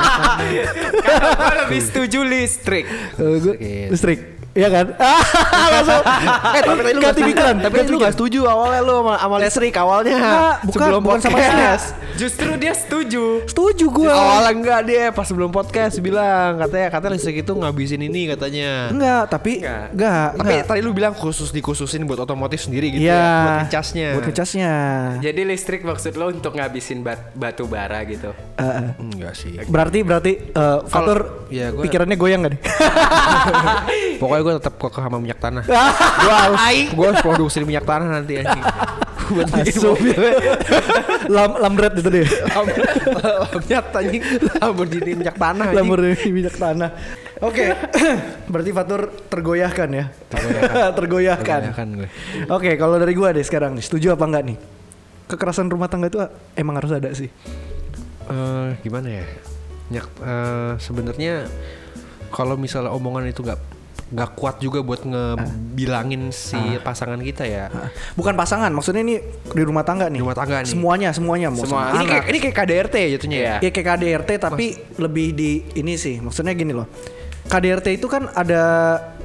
Speaker 3: Karena gue lebih setuju listrik.
Speaker 1: Eh, gua-
Speaker 2: Listrik.
Speaker 1: Listrik. Iya kan? Langsung.
Speaker 2: Eh, tapi tadi lu
Speaker 1: ganti
Speaker 2: nggak-
Speaker 1: pikiran. Iya.
Speaker 2: Tapi tadi lu gak setuju awalnya lu sama, sama listrik awalnya.
Speaker 1: Nggak, bukan,
Speaker 2: sebelum
Speaker 1: bukan sama
Speaker 2: podcast.
Speaker 3: Justru dia setuju.
Speaker 1: Setuju gue.
Speaker 2: Awalnya enggak dia pas sebelum podcast bilang katanya katanya listrik itu ngabisin ini katanya.
Speaker 1: Enggak, tapi
Speaker 3: Nggak.
Speaker 1: enggak.
Speaker 2: Tapi
Speaker 1: enggak.
Speaker 2: tadi lu bilang khusus dikhususin buat otomotif sendiri gitu
Speaker 1: Iya.
Speaker 2: ya, buat ngecasnya. Iya.
Speaker 1: Buat ngecasnya.
Speaker 3: Jadi listrik maksud lo untuk ngabisin bat- batu bara gitu.
Speaker 1: Eh, eh.
Speaker 2: Enggak sih.
Speaker 1: Berarti berarti eh, faktor
Speaker 2: ya, gua-
Speaker 1: pikirannya goyang gak nih?
Speaker 2: Pokoknya gue tetap kekeh sama minyak tanah. gue harus gue harus produksi minyak tanah nanti anjing. buat bikin
Speaker 1: Asu.
Speaker 2: mobilnya.
Speaker 1: Lam lamret itu dia.
Speaker 2: Lam- Minyak anjing. Lamborghini minyak tanah. anjing.
Speaker 1: Lamborghini minyak tanah. Oke, berarti Fatur tergoyahkan ya. Tergoyahkan.
Speaker 2: Kebanyakan gue.
Speaker 1: Oke, kalau dari gua deh sekarang nih, setuju apa enggak nih? Kekerasan rumah tangga itu ah, emang harus ada sih.
Speaker 2: Eh, gimana ya? Minyak eh, sebenarnya kalau misalnya omongan itu nggak nggak kuat juga buat ngebilangin si pasangan kita ya.
Speaker 1: Ah. Bukan pasangan, maksudnya ini di rumah tangga nih.
Speaker 2: Di rumah tangga nih.
Speaker 1: Semuanya, semuanya mau.
Speaker 3: Semua
Speaker 2: Ini kayak
Speaker 3: anak.
Speaker 2: ini kayak KDRT ya jatuhnya ya.
Speaker 1: Ya kayak KDRT tapi lebih di ini sih. Maksudnya gini loh. KDRT itu kan ada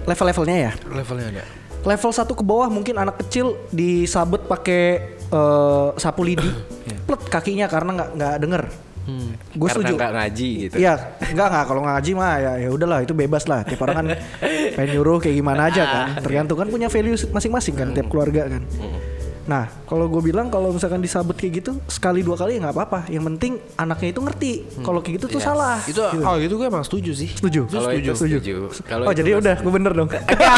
Speaker 1: level-levelnya ya.
Speaker 2: Levelnya ada.
Speaker 1: Level 1 ke bawah mungkin anak kecil disabet pakai eh, sapu lidi. Plet kakinya karena nggak nggak denger. Gue
Speaker 3: Iya. Hmm. Karena
Speaker 1: setuju.
Speaker 3: nggak ngaji gitu.
Speaker 1: Iya, enggak enggak kalau ngaji mah ya ya udahlah itu bebas lah. Tiap orang kan pengen nyuruh kayak gimana aja kan.
Speaker 3: Iya.
Speaker 1: Tergantung kan punya value masing-masing kan
Speaker 3: Hmm.
Speaker 1: tiap keluarga kan. Nah, kalau gue bilang kalau misalkan disabet kayak gitu sekali dua kali ya nggak apa-apa. Yang penting anaknya itu ngerti
Speaker 3: Hmm.
Speaker 1: kalau kayak gitu tuh salah.
Speaker 2: Itu oh gitu gue emang setuju sih.
Speaker 1: Setuju.
Speaker 3: Iya. Kalau itu setuju. Kalau
Speaker 1: oh,
Speaker 3: itu
Speaker 1: jadi
Speaker 3: nggak
Speaker 1: udah gue bener dong.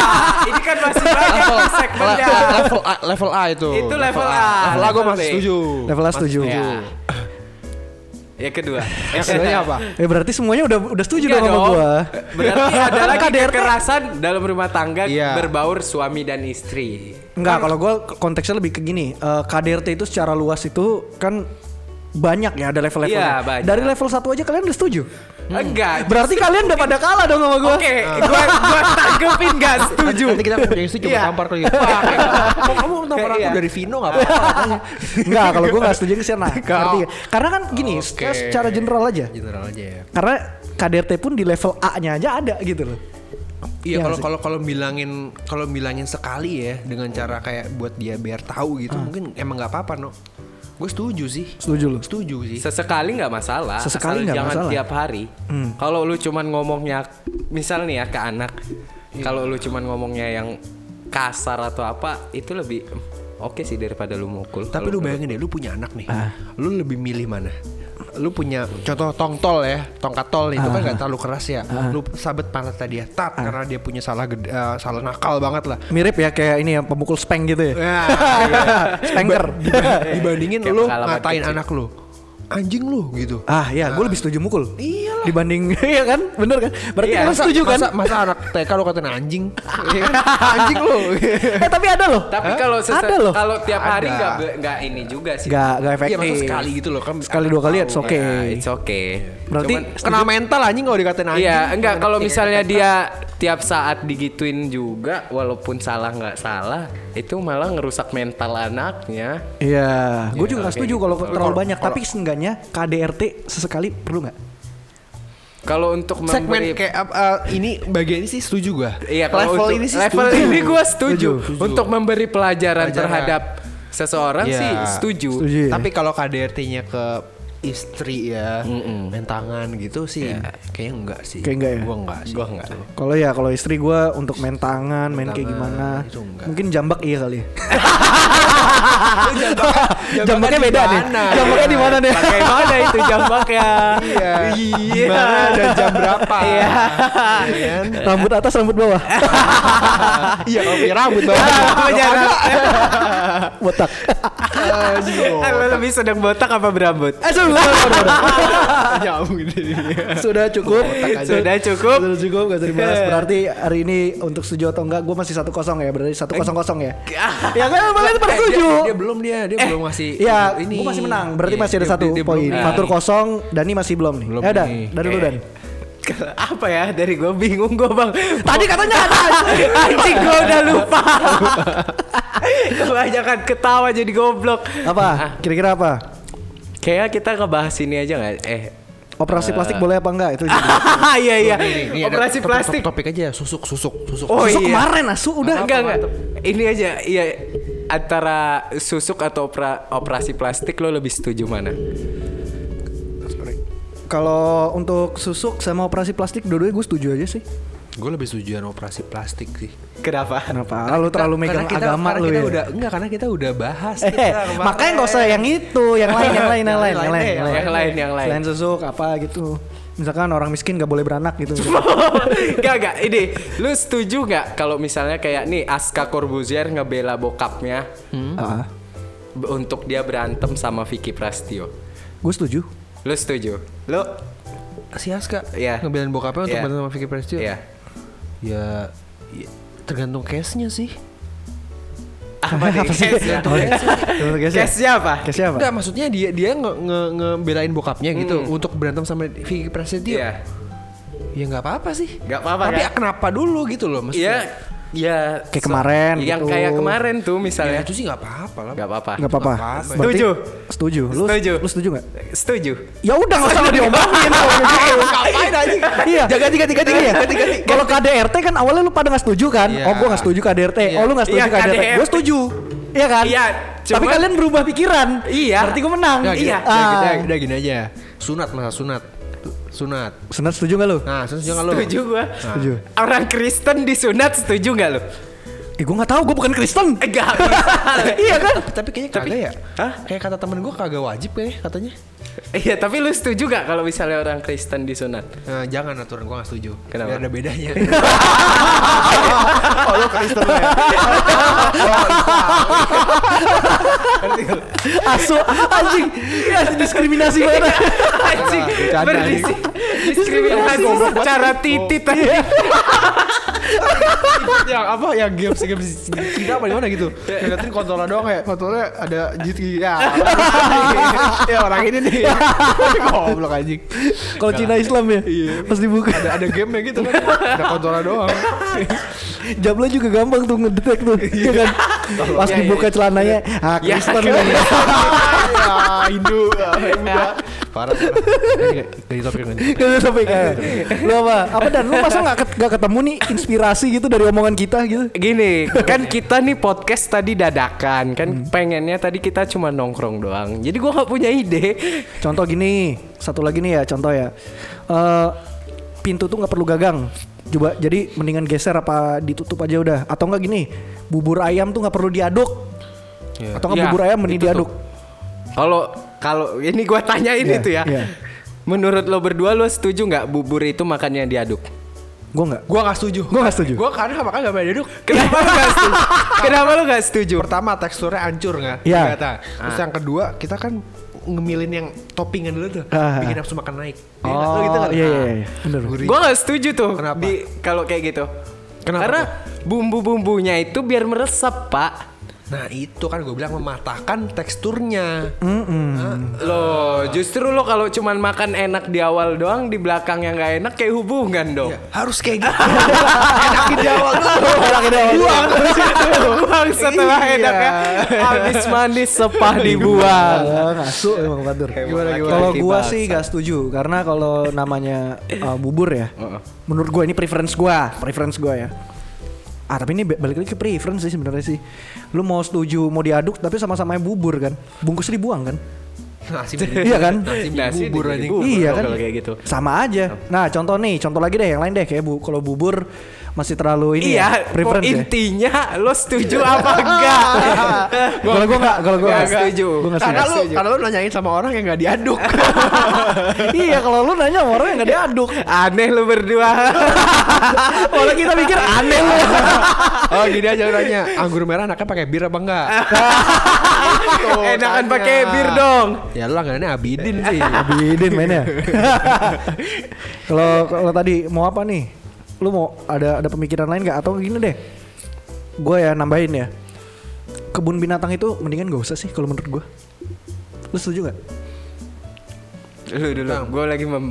Speaker 3: Ini kan masih banyak nih segmennya.
Speaker 2: Le- level A, level A itu.
Speaker 3: Itu level A.
Speaker 2: Level A gue
Speaker 3: Level
Speaker 2: masih
Speaker 3: B.
Speaker 2: setuju.
Speaker 1: Level A setuju.
Speaker 3: Ya. Ya kedua.
Speaker 2: Yang sebenarnya apa?
Speaker 1: Eh berarti semuanya udah udah setuju dong
Speaker 3: Enggak
Speaker 1: sama Kan gue.
Speaker 3: Berarti ada lagi kekerasan dalam rumah tangga
Speaker 2: Iya.
Speaker 3: berbaur suami dan istri.
Speaker 1: Enggak, kalau gue konteksnya lebih ke gini. eh, KDRT itu secara luas itu kan banyak ya ada
Speaker 3: Iya,
Speaker 1: level-levelnya.
Speaker 3: banyak.
Speaker 1: Dari level satu aja kalian udah setuju.
Speaker 3: Enggak.
Speaker 1: Berarti kalian udah pada kalah dong sama gue.
Speaker 3: Oke, gua gua tanggepin gak setuju.
Speaker 2: Nanti kita punya setuju
Speaker 3: Iya.
Speaker 2: tampar gitu. kali. Wah, kayak- Kok kamu tampar aku
Speaker 3: Iya.
Speaker 2: dari Vino nggak apa-apa. katanya.
Speaker 1: Enggak, kalau gue gak setuju ke sana. Ngerti nggak? Karena kan gini,
Speaker 2: Oke.
Speaker 1: secara- secara general aja.
Speaker 2: General aja ya.
Speaker 1: Karena KDRT pun di level A-nya aja ada gitu loh. Iya
Speaker 2: Iya kalau
Speaker 1: sih.
Speaker 2: kalau kalau bilangin kalau bilangin sekali ya dengan cara kayak buat dia biar tahu gitu mungkin emang nggak apa-apa no. Gue setuju sih.
Speaker 1: Setuju lu?
Speaker 2: Setuju sih.
Speaker 3: Sesekali nggak masalah.
Speaker 1: Sesekali
Speaker 3: asal
Speaker 1: nggak
Speaker 3: jangan
Speaker 1: masalah. Hmm.
Speaker 3: tiap hari. Kalau lu cuman ngomongnya misal nih ya ke anak.
Speaker 1: Iya.
Speaker 3: Kalau lu cuman ngomongnya yang kasar atau apa itu lebih mm, oke sih daripada lu mukul.
Speaker 2: Tapi lu
Speaker 3: Kalau-
Speaker 2: bayangin deh, lu punya anak nih.
Speaker 1: Ah.
Speaker 2: Lu lebih milih mana? Lu punya contoh tong tol ya, tongkat tol itu
Speaker 1: Ah.
Speaker 2: kan gak terlalu keras ya. Lu sabet pantat tadi ya, tat karena dia punya salah gede- eh, salah nakal banget lah.
Speaker 1: Mirip ya kayak ini ya pemukul spank gitu ya.
Speaker 3: Nah,
Speaker 2: Ya, iya.
Speaker 1: Spanker.
Speaker 2: dibandingin
Speaker 3: Kayak
Speaker 2: lu
Speaker 3: pengalaman
Speaker 2: ngatain
Speaker 3: kecil.
Speaker 2: anak lu anjing lu gitu
Speaker 1: Ah ya, gue lebih setuju mukul.
Speaker 2: Iyalah.
Speaker 1: Dibanding iya kan, bener kan? Berarti
Speaker 3: Iya,
Speaker 1: kalian
Speaker 2: Masa-
Speaker 1: setuju kan?
Speaker 2: masa, masa anak TK lu katain anjing Iya kan? anjing lu
Speaker 1: eh tapi ada loh.
Speaker 3: Tapi kalau sese-
Speaker 1: ada loh.
Speaker 3: kalau tiap hari
Speaker 2: Ada.
Speaker 3: nggak be- nggak ini juga sih.
Speaker 1: Gak gak
Speaker 2: Iya
Speaker 1: efektif.
Speaker 2: masa sekali gitu loh kan
Speaker 1: Sekali dua kali it's okay.
Speaker 3: Ya, it's okay.
Speaker 1: Berarti
Speaker 3: Cuman-
Speaker 2: kena mental anjing kalau dikatain anjing
Speaker 3: Iya, enggak kalau misalnya dia tiap saat digituin juga walaupun salah nggak salah, itu malah ngerusak mental anaknya.
Speaker 1: Iya, gue juga gak
Speaker 3: kayak
Speaker 1: setuju
Speaker 3: gitu.
Speaker 1: kalau
Speaker 3: Tapi
Speaker 1: terlalu
Speaker 3: kalau-
Speaker 1: banyak. Tapi seenggaknya KDRT sesekali perlu nggak?
Speaker 3: Kalau untuk
Speaker 2: segmen
Speaker 3: memberi
Speaker 2: kayak ap- eh, ini bagian ini sih setuju gua
Speaker 3: Iya, kalau
Speaker 2: level
Speaker 3: untuk-
Speaker 2: ini sih
Speaker 3: level
Speaker 2: setuju.
Speaker 3: ini gua setuju.
Speaker 2: Setuju.
Speaker 3: Untuk memberi pelajaran,
Speaker 2: Pelajaran.
Speaker 3: terhadap seseorang
Speaker 2: Iya.
Speaker 3: sih setuju.
Speaker 1: Setuju ya?
Speaker 2: Tapi kalau KDRT-nya ke istri ya, mentangan gitu sih, kayaknya enggak sih.
Speaker 1: Kayak enggak ya?
Speaker 2: Gua enggak sih.
Speaker 3: Gua enggak.
Speaker 2: Gitu.
Speaker 1: Kalau ya kalau istri gue untuk main tangan, main kayak
Speaker 2: tangan,
Speaker 1: gimana?
Speaker 2: itu enggak.
Speaker 1: Mungkin jambak iya kali. ya.
Speaker 2: jambaknya
Speaker 1: jambaknya beda
Speaker 2: di
Speaker 1: nih.
Speaker 2: mana?
Speaker 1: Jambaknya di mana deh?
Speaker 3: Bagaimana itu ya? jambaknya?
Speaker 2: Iya. Gimana dan jam berapa? Iya. kan?
Speaker 1: Rambut atas, rambut bawah.
Speaker 2: Iya, kalau punya rambut bawah.
Speaker 3: Aku jarang.
Speaker 1: Botak.
Speaker 3: Aku eh, lebih sedang botak apa berambut?
Speaker 1: Eh sudah, sudah, sudah.
Speaker 2: Jauh gitu ini.
Speaker 1: Sudah cukup.
Speaker 3: Sudah cukup. Eh,
Speaker 1: Sudah cukup gak usah dibahas. Berarti hari ini untuk setuju atau enggak gue masih satu kosong ya. Berarti satu kosong kosong ya. Ya kan kalian pada setuju.
Speaker 2: Eh, Dia, dia belum dia,
Speaker 3: Eh,
Speaker 2: dia belum ngasih
Speaker 1: Ya, gue masih menang. Berarti
Speaker 2: Iya,
Speaker 1: masih ada
Speaker 2: dia-
Speaker 1: satu
Speaker 2: dia- dia
Speaker 1: poin.
Speaker 2: belum nih.
Speaker 1: Fatur kosong, Dani masih belum nih.
Speaker 2: Belum
Speaker 1: ya udah,
Speaker 2: nih. Eh.
Speaker 1: dari lu Dan.
Speaker 3: apa ya dari gue bingung gue bang
Speaker 1: Tadi katanya ada.
Speaker 3: anjing gue udah lupa kebanyakan ketawa jadi goblok
Speaker 1: apa? Kira-kira apa?
Speaker 3: kayaknya kita ngebahas ini aja nggak eh
Speaker 1: Operasi plastik
Speaker 2: Eh.
Speaker 1: boleh apa enggak? Itu jadi.
Speaker 3: iya iya
Speaker 2: Nih, ada
Speaker 3: operasi
Speaker 2: topik-
Speaker 3: plastik
Speaker 2: Topik aja susuk susuk susuk.
Speaker 3: Oh,
Speaker 1: Susuk
Speaker 3: iya.
Speaker 1: kemarin asu udah.
Speaker 3: enggak enggak ini aja iya antara susuk atau opera- operasi plastik lo lebih setuju mana
Speaker 1: Kalau untuk susuk sama operasi plastik dua-duanya gue setuju aja sih.
Speaker 2: Gue lebih setujuan operasi plastik sih.
Speaker 3: kenapa
Speaker 1: Kenapa? Lu terlalu
Speaker 2: Karena
Speaker 1: megang
Speaker 2: kita-
Speaker 1: agama
Speaker 2: karena
Speaker 1: lu
Speaker 2: kita
Speaker 1: ya.
Speaker 2: Udah, enggak karena kita udah bahas.
Speaker 1: Eh,
Speaker 2: kita kemarin.
Speaker 1: makanya nggak usah yang itu, yang lain, yang lain, yang lain, yang lain,
Speaker 2: Yang
Speaker 3: yang lain yang lain
Speaker 1: Selain susuk apa gitu. Misalkan orang miskin nggak boleh beranak gitu.
Speaker 3: Gak gak ini Lu setuju gak Kalau misalnya kayak nih Aska Corbuzier ngebela bokapnya
Speaker 1: Ah,
Speaker 3: b- Untuk dia berantem sama Vicky Prastio
Speaker 1: gue setuju.
Speaker 3: Lu setuju? Lu?
Speaker 2: si Aska
Speaker 3: Iya.
Speaker 2: ngebelain bokapnya untuk
Speaker 3: Iya.
Speaker 2: bantu sama Vicky Prestio.
Speaker 3: Iya
Speaker 2: Ya, ya, tergantung case-nya sih.
Speaker 3: Apa nih?
Speaker 1: sih?
Speaker 3: Case-nya?
Speaker 1: Oh, iya. Case-nya?
Speaker 3: Case-nya apa? Hmm.
Speaker 1: Case-nya apa?
Speaker 2: Enggak, maksudnya dia dia nge, nge- ngebelain bokapnya gitu untuk berantem sama Vicky Prasetyo.
Speaker 3: Iya
Speaker 2: Ya nggak apa-apa sih.
Speaker 3: Nggak apa-apa,
Speaker 2: Tapi
Speaker 3: kan?
Speaker 2: kenapa dulu gitu loh
Speaker 3: Iya
Speaker 2: maksudnya.
Speaker 3: Iya
Speaker 1: Kayak kemarin
Speaker 3: Yang
Speaker 1: gitu. Iya.
Speaker 3: kayak kemarin tuh
Speaker 2: Ya,
Speaker 3: misalnya
Speaker 2: itu sih nggak apa-apa lah.
Speaker 3: Gak apa-apa
Speaker 1: Nggak apa-apa.
Speaker 2: Nggak apa-apa.
Speaker 1: Berarti-
Speaker 3: Setuju.
Speaker 1: Setuju. Lu
Speaker 3: Setuju.
Speaker 1: Lu setuju nggak?
Speaker 3: Setuju
Speaker 1: Ya udah nggak usah diomongin. kalau gitu.
Speaker 2: Ngapain anjing?
Speaker 1: Iya.
Speaker 2: Jangan ganti ganti ganti ya. Ganti ganti.
Speaker 1: Kalau KDRT kan awalnya lu pada nggak setuju kan?
Speaker 2: Iya.
Speaker 1: Oh gue nggak setuju KDRT.
Speaker 2: Iya.
Speaker 1: Oh lu nggak setuju
Speaker 3: Iya,
Speaker 1: KDRT.
Speaker 3: KDRT.
Speaker 1: Gue setuju. Iya kan?
Speaker 3: Iya,
Speaker 1: Tapi
Speaker 3: cuman-
Speaker 1: kalian berubah pikiran.
Speaker 3: Iya.
Speaker 1: Berarti gue menang.
Speaker 2: Nggak, gini-
Speaker 3: Iya.
Speaker 2: udah,
Speaker 1: Ah.
Speaker 2: udah, udah gini aja. Sunat masa sunat. Sunat.
Speaker 1: Senat setuju nggak lu?
Speaker 2: Nah, sunat jangan lu.
Speaker 3: Setuju gua
Speaker 1: Setuju.
Speaker 3: Orang Kristen disunat setuju gak lu? Eh,
Speaker 1: Eh gue nggak tahu. Gue bukan Kristen.
Speaker 3: Enggak
Speaker 1: iya kan?
Speaker 2: Tapi kayaknya
Speaker 3: Tapi-
Speaker 2: kagak ya?
Speaker 3: Hah?
Speaker 2: Kayak kata temen gue kagak wajib kayaknya katanya.
Speaker 3: Iya tapi lu setuju gak Kalau misalnya orang Kristen disunat?
Speaker 2: Eh, jangan aturan gue gak setuju.
Speaker 3: Kenapa?
Speaker 2: Biar ada bedanya. oh, lo Kristen lo ya.
Speaker 1: Asu anjing. Ya, diskriminasi banget. Ah,
Speaker 3: Anjing
Speaker 2: bercanda,
Speaker 3: berdisi
Speaker 1: Diskriminasi.
Speaker 3: diskriminasi secara titit
Speaker 1: Oh,
Speaker 3: tadi.
Speaker 2: yang apa yang games games kita apa gimana gitu. Yang ngeliatin kontolnya doang ya. Kontolnya ada jit ya. ya orang ini nih. Goblok anjing.
Speaker 1: Kalau Cina Islam ya.
Speaker 3: Iya.
Speaker 1: Pas dibuka.
Speaker 2: Ada ada game nya gitu kan. Ada kontolnya doang.
Speaker 1: Jabla juga gampang tuh ngedetect tuh. Iya kan? Pas
Speaker 3: Iya,
Speaker 1: dibuka
Speaker 3: iya.
Speaker 1: celananya, ah
Speaker 3: Iya,
Speaker 1: Kristen.
Speaker 3: iya.
Speaker 2: ya, Hindu. Parah. parah. Dari topik ini.
Speaker 1: Gak Gitu, sampai kayak
Speaker 3: Iya.
Speaker 1: Lu apa? Apa dan lu masa gak, ket- gak ketemu nih inspirasi gitu dari omongan kita gitu?
Speaker 3: Gini, kan kita nih podcast tadi dadakan, kan
Speaker 1: Hmm.
Speaker 3: pengennya tadi kita cuma nongkrong doang. Jadi gua nggak punya ide.
Speaker 1: Contoh gini, satu lagi nih ya contoh ya. Eh, pintu tuh nggak perlu gagang. Coba jadi mendingan geser apa ditutup aja udah. Atau enggak gini, bubur ayam tuh nggak perlu diaduk. Atau enggak
Speaker 3: Ya,
Speaker 1: bubur ayam mending
Speaker 3: itu tuh.
Speaker 1: diaduk.
Speaker 3: Kalau kalau ini gua tanyain
Speaker 1: Iya,
Speaker 3: itu ya.
Speaker 1: iya.
Speaker 3: Menurut lo berdua lo setuju nggak bubur itu makannya diaduk?
Speaker 1: Gue nggak.
Speaker 2: Gua gak setuju.
Speaker 1: Gue nggak setuju.
Speaker 2: Gua kan karena makanya gak berani duduk.
Speaker 3: Kenapa lo nggak setuju? Kenapa lo nggak setuju?
Speaker 2: pertama teksturnya hancur nggak
Speaker 1: Iya.
Speaker 2: Ah. kelihatan. terus yang kedua kita kan ngemilin yang toppingan dulu tuh,
Speaker 1: Ah.
Speaker 2: bikin nafsu makan naik. Dia enak,
Speaker 1: Oh,
Speaker 2: gitu kan?
Speaker 1: iya, iya,
Speaker 2: Ah,
Speaker 1: iya. Bener.
Speaker 2: gurih.
Speaker 3: Gue gak setuju tuh
Speaker 2: Kenapa?
Speaker 3: di kalau kayak gitu.
Speaker 2: Kenapa
Speaker 3: Karena bumbu-bumbunya itu biar meresap, Pak.
Speaker 2: Nah itu kan gue bilang mematahkan teksturnya.
Speaker 3: Loh, justru lo kalau cuman makan enak di awal doang, di belakang yang gak enak kayak hubungan dong.
Speaker 1: Iya.
Speaker 2: Ya, harus kayak gitu. Enakin di awal
Speaker 1: Enakin
Speaker 2: dulu.
Speaker 1: Oh, di awal dulu.
Speaker 2: Buang.
Speaker 3: Buang setelah
Speaker 2: Iya.
Speaker 3: enaknya habis manis sepah
Speaker 1: Iya.
Speaker 3: dibuang.
Speaker 1: Ah, ngasu emang Fatur. Kalau
Speaker 3: laki
Speaker 1: gua
Speaker 3: bangsa.
Speaker 1: sih gak setuju karena kalau namanya uh, bubur ya, menurut gua ini preference gua, preference gua ya. Ah tapi ini ba- balik lagi ke preference sih sebenarnya sih. Lu mau setuju mau diaduk tapi sama-sama bubur kan, bungkus dibuang kan?
Speaker 2: Nasi
Speaker 1: Iya kan?
Speaker 3: Nasi
Speaker 2: bubur
Speaker 3: dibeli
Speaker 2: anjing.
Speaker 3: bubur
Speaker 1: iya
Speaker 3: dong
Speaker 1: kan?
Speaker 3: kalau kayak gitu.
Speaker 1: Sama aja. Nah contoh nih, contoh lagi deh yang lain deh kayak bu, kalau bubur masih terlalu ini ya,
Speaker 3: Iya,
Speaker 1: preference ya.
Speaker 3: intinya lo setuju apa enggak?
Speaker 1: Kalau gua nggak, kalau gua
Speaker 3: Nggak
Speaker 1: nggak.
Speaker 3: setuju.
Speaker 1: Gua nggak
Speaker 2: Karena
Speaker 1: setuju.
Speaker 2: lu, karena lu nanyain sama orang yang gak diaduk.
Speaker 1: iya kalau lu nanya sama orang yang gak diaduk.
Speaker 3: Aneh lo berdua.
Speaker 1: Orang kita mikir aneh lu.
Speaker 2: oh gini aja lu nanya, anggur merah anaknya pakai bir apa enggak? Gitu,
Speaker 3: Enakan pakai bir dong.
Speaker 2: Ya lu langganannya Abidin sih.
Speaker 1: Abidin mainnya. Kalau kalau tadi mau apa nih? Lu mau ada ada pemikiran lain gak? Atau gini deh, gue ya nambahin ya. Kebun binatang itu mendingan gak usah sih kalau menurut gue. Lu setuju gak?
Speaker 3: Lu dulu, gue lagi mem-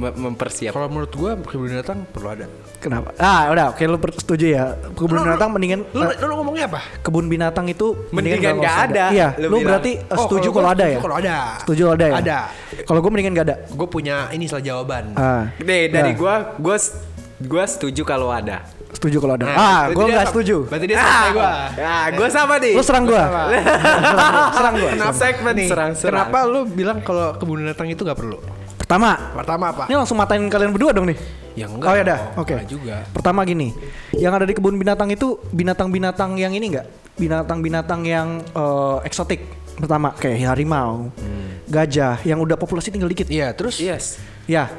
Speaker 2: Ya,
Speaker 3: mempersiapkan.
Speaker 2: Kalau menurut gua kebun binatang perlu ada.
Speaker 1: Kenapa? Ah udah, oke lu per- setuju ya. Kebun
Speaker 2: Lu-
Speaker 1: binatang mendingan.
Speaker 2: Lu,
Speaker 1: eh,
Speaker 2: lu, lu ngomongnya apa?
Speaker 1: kebun binatang itu
Speaker 3: Mendingan
Speaker 1: nggak
Speaker 3: nggak
Speaker 1: usah
Speaker 3: ada,
Speaker 1: Iya,
Speaker 3: lu
Speaker 1: lu,
Speaker 3: bilang.
Speaker 1: berarti eh,
Speaker 2: Oh,
Speaker 1: setuju
Speaker 2: kalau
Speaker 1: kalau
Speaker 2: gua
Speaker 1: ada
Speaker 2: setuju
Speaker 1: ya.
Speaker 2: kalau ada.
Speaker 1: Setuju kalau ada ya.
Speaker 2: Ada.
Speaker 1: Kalau gue mendingan gak ada.
Speaker 2: Gue punya ini salah jawaban.
Speaker 1: Ah,
Speaker 3: Nih, dari
Speaker 1: Nah.
Speaker 3: gue, gue gue setuju kalau ada.
Speaker 1: setuju kalau ada.
Speaker 2: Nah,
Speaker 1: ah, gue
Speaker 2: berarti dia
Speaker 1: nggak
Speaker 2: sama-
Speaker 1: setuju.
Speaker 2: Berarti dia sama gua.
Speaker 3: Ya, gue sama nih.
Speaker 2: Iya,
Speaker 1: Lu serang gue.
Speaker 3: serang gue. Kenapa segmen nih? Serang, serang.
Speaker 2: Kenapa lu bilang kalau kebun binatang itu gak perlu?
Speaker 1: Pertama,
Speaker 2: Pertama apa?
Speaker 1: Ini langsung matain kalian berdua dong nih.
Speaker 2: Ya
Speaker 1: oh ya dah,
Speaker 2: dong,
Speaker 1: oke.
Speaker 2: enggak juga.
Speaker 1: Pertama gini, yang ada di kebun binatang itu binatang-binatang yang ini enggak? Binatang-binatang yang eh, eksotik. Pertama kayak harimau, gajah yang udah populasi tinggal dikit.
Speaker 2: Hmm. Iya, terus
Speaker 3: Yes.
Speaker 1: Ya.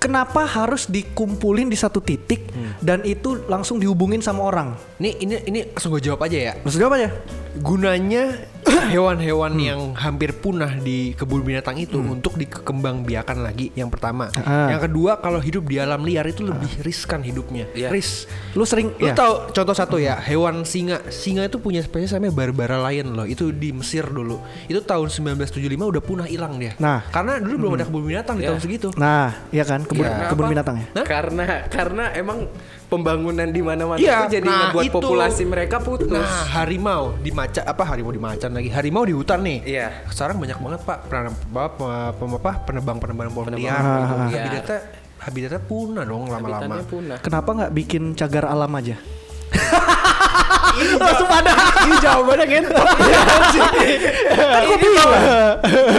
Speaker 1: Kenapa harus dikumpulin di satu titik
Speaker 2: Hmm.
Speaker 1: dan itu langsung dihubungin sama orang?
Speaker 2: ini ini ini langsung gue jawab aja ya.
Speaker 1: Maksudnya apa ya?
Speaker 2: Gunanya hewan-hewan
Speaker 1: Hmm.
Speaker 2: yang hampir punah di kebun binatang itu untuk dikembang biakan lagi yang pertama.
Speaker 1: Ah.
Speaker 2: Yang kedua kalau hidup di alam liar itu lebih riskan hidupnya.
Speaker 3: Iya.
Speaker 2: Ris.
Speaker 1: Lu sering
Speaker 2: Lu
Speaker 1: ya.
Speaker 2: tau contoh satu ya hewan singa singa itu punya spesies namanya Barbara lion loh itu di Mesir dulu itu tahun 1975 udah punah hilang dia
Speaker 1: Nah.
Speaker 2: karena dulu belum ada kebun binatang di
Speaker 3: Iya.
Speaker 2: tahun segitu
Speaker 1: Nah, iya kan kebun
Speaker 2: Iya.
Speaker 1: kebun
Speaker 3: Kenapa?
Speaker 1: binatang ya.
Speaker 2: Hah?
Speaker 3: Karena karena emang pembangunan di mana-mana
Speaker 2: Iya,
Speaker 3: itu jadi
Speaker 2: nah,
Speaker 3: ngebuat
Speaker 2: itu.
Speaker 3: populasi mereka putus.
Speaker 2: Nah harimau di macan apa harimau di macan lagi harimau di hutan nih.
Speaker 3: Iya.
Speaker 2: Sekarang banyak banget pak penanam apa- pem- apa penebang penebang pohon liar.
Speaker 3: Penebang
Speaker 2: gitu.
Speaker 3: pohon liar.
Speaker 2: Habitatnya habitatnya punah dong lama-lama.
Speaker 3: Habitatnya Nah, punah.
Speaker 1: Kenapa nggak bikin cagar alam aja?
Speaker 2: Langsung pada ini jawabannya ngentot.
Speaker 1: Kan gua bilang.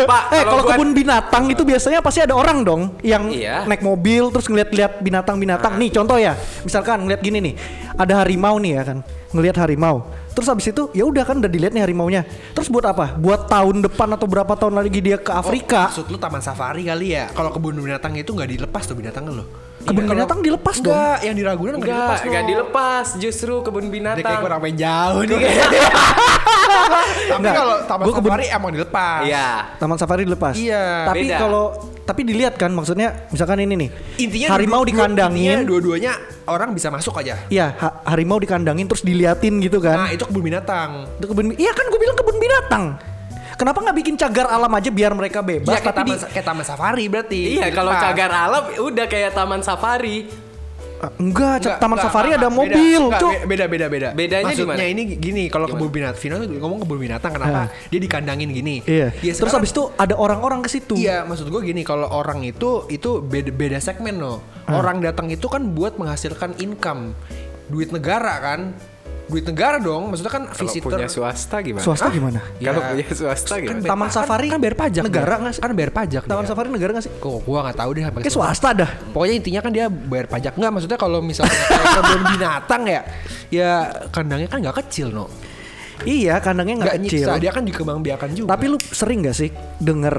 Speaker 3: Pak,
Speaker 1: Eh kalau
Speaker 3: gua-
Speaker 1: kebun binatang itu biasanya pasti ada orang dong yang
Speaker 3: Iya.
Speaker 1: naik mobil terus ngeliat-liat binatang-binatang. Nih contoh ya, misalkan ngeliat gini nih, ada harimau nih ya kan, ngeliat harimau. Terus habis itu ya udah kan udah dilihat nih harimaunya. Terus buat apa? Buat tahun depan atau berapa tahun lagi dia ke Afrika,
Speaker 2: Maksud lu taman safari kali ya? Kalau kebun binatang itu nggak dilepas tuh binatangnya lo.
Speaker 1: kebun
Speaker 2: Kalau-
Speaker 1: binatang dilepas dong.
Speaker 2: Enggak, yang di Ragunan nggak
Speaker 3: Enggak,
Speaker 2: dilepas
Speaker 3: enggak
Speaker 2: loh.
Speaker 3: dilepas, justru kebun
Speaker 2: Dia kayak kurang
Speaker 3: binatang.
Speaker 2: main jauh nih Tapi
Speaker 1: Nggak,
Speaker 2: kalau taman
Speaker 1: gua kebun-
Speaker 2: safari emang dilepas
Speaker 3: Iya.
Speaker 1: Taman safari dilepas.
Speaker 2: Iya,
Speaker 1: Tapi
Speaker 3: beda.
Speaker 1: kalau tapi dilihat kan maksudnya misalkan ini nih.
Speaker 2: Intinya
Speaker 1: harimau
Speaker 2: dua-
Speaker 1: dikandangin.
Speaker 2: intinya dua-duanya orang bisa masuk aja.
Speaker 1: Iya, ha- harimau dikandangin terus diliatin gitu kan.
Speaker 2: Nah itu kebun binatang.
Speaker 1: Itu kebun bi- Iya kan gue bilang kebun binatang. Kenapa nggak bikin cagar alam aja biar mereka bebas?
Speaker 2: Iya kayak
Speaker 1: tapi
Speaker 2: taman,
Speaker 1: di-
Speaker 2: kayak taman safari berarti.
Speaker 3: Iya,
Speaker 2: Di
Speaker 3: kalau
Speaker 2: depan.
Speaker 3: cagar alam udah kayak taman safari.
Speaker 1: Ah, enggak,
Speaker 2: Enggak,
Speaker 1: taman
Speaker 2: enggak,
Speaker 1: safari
Speaker 2: enggak,
Speaker 1: ada
Speaker 2: beda,
Speaker 1: mobil,
Speaker 2: enggak,
Speaker 1: cuk.
Speaker 2: be- Beda beda beda.
Speaker 3: Bedanya di
Speaker 2: Maksudnya
Speaker 3: mana?
Speaker 2: ini gini, kalau kebun binatang, Vino tuh ngomong kebun binatang kenapa?
Speaker 1: Ah.
Speaker 2: Dia dikandangin gini.
Speaker 1: Iya.
Speaker 2: Dia
Speaker 1: Terus
Speaker 2: sekarang-
Speaker 1: habis itu ada orang-orang ke situ.
Speaker 2: Iya, maksud gue gini, kalau orang itu itu beda, beda segmen loh.
Speaker 1: Ah.
Speaker 2: Orang datang itu kan buat menghasilkan income, duit negara kan, duit negara dong. Maksudnya kan
Speaker 3: Kalau
Speaker 2: visitor.
Speaker 3: punya swasta gimana?
Speaker 1: Swasta gimana?
Speaker 3: Kalau
Speaker 2: Ya.
Speaker 3: punya swasta
Speaker 2: Kan
Speaker 3: gimana?
Speaker 2: bayar
Speaker 1: Taman
Speaker 2: pa-
Speaker 1: safari
Speaker 2: kan, kan bayar pajak. Iya.
Speaker 1: negara
Speaker 2: dia.
Speaker 1: nggak sih?
Speaker 2: Kan bayar pajak.
Speaker 1: Taman
Speaker 2: dia.
Speaker 1: safari negara nggak sih?
Speaker 2: Kok gua nggak tahu deh.
Speaker 1: Kayak swasta dah.
Speaker 2: Pokoknya intinya kan dia bayar pajak nggak maksudnya kalau misalnya kayak kebun binatang ya, ya kandangnya kan nggak kecil no,
Speaker 1: Iya, kandangnya nggak
Speaker 2: nggak
Speaker 1: kecil.
Speaker 2: nyiksa dia kan dikembangbiakan juga.
Speaker 1: Tapi lu sering nggak sih denger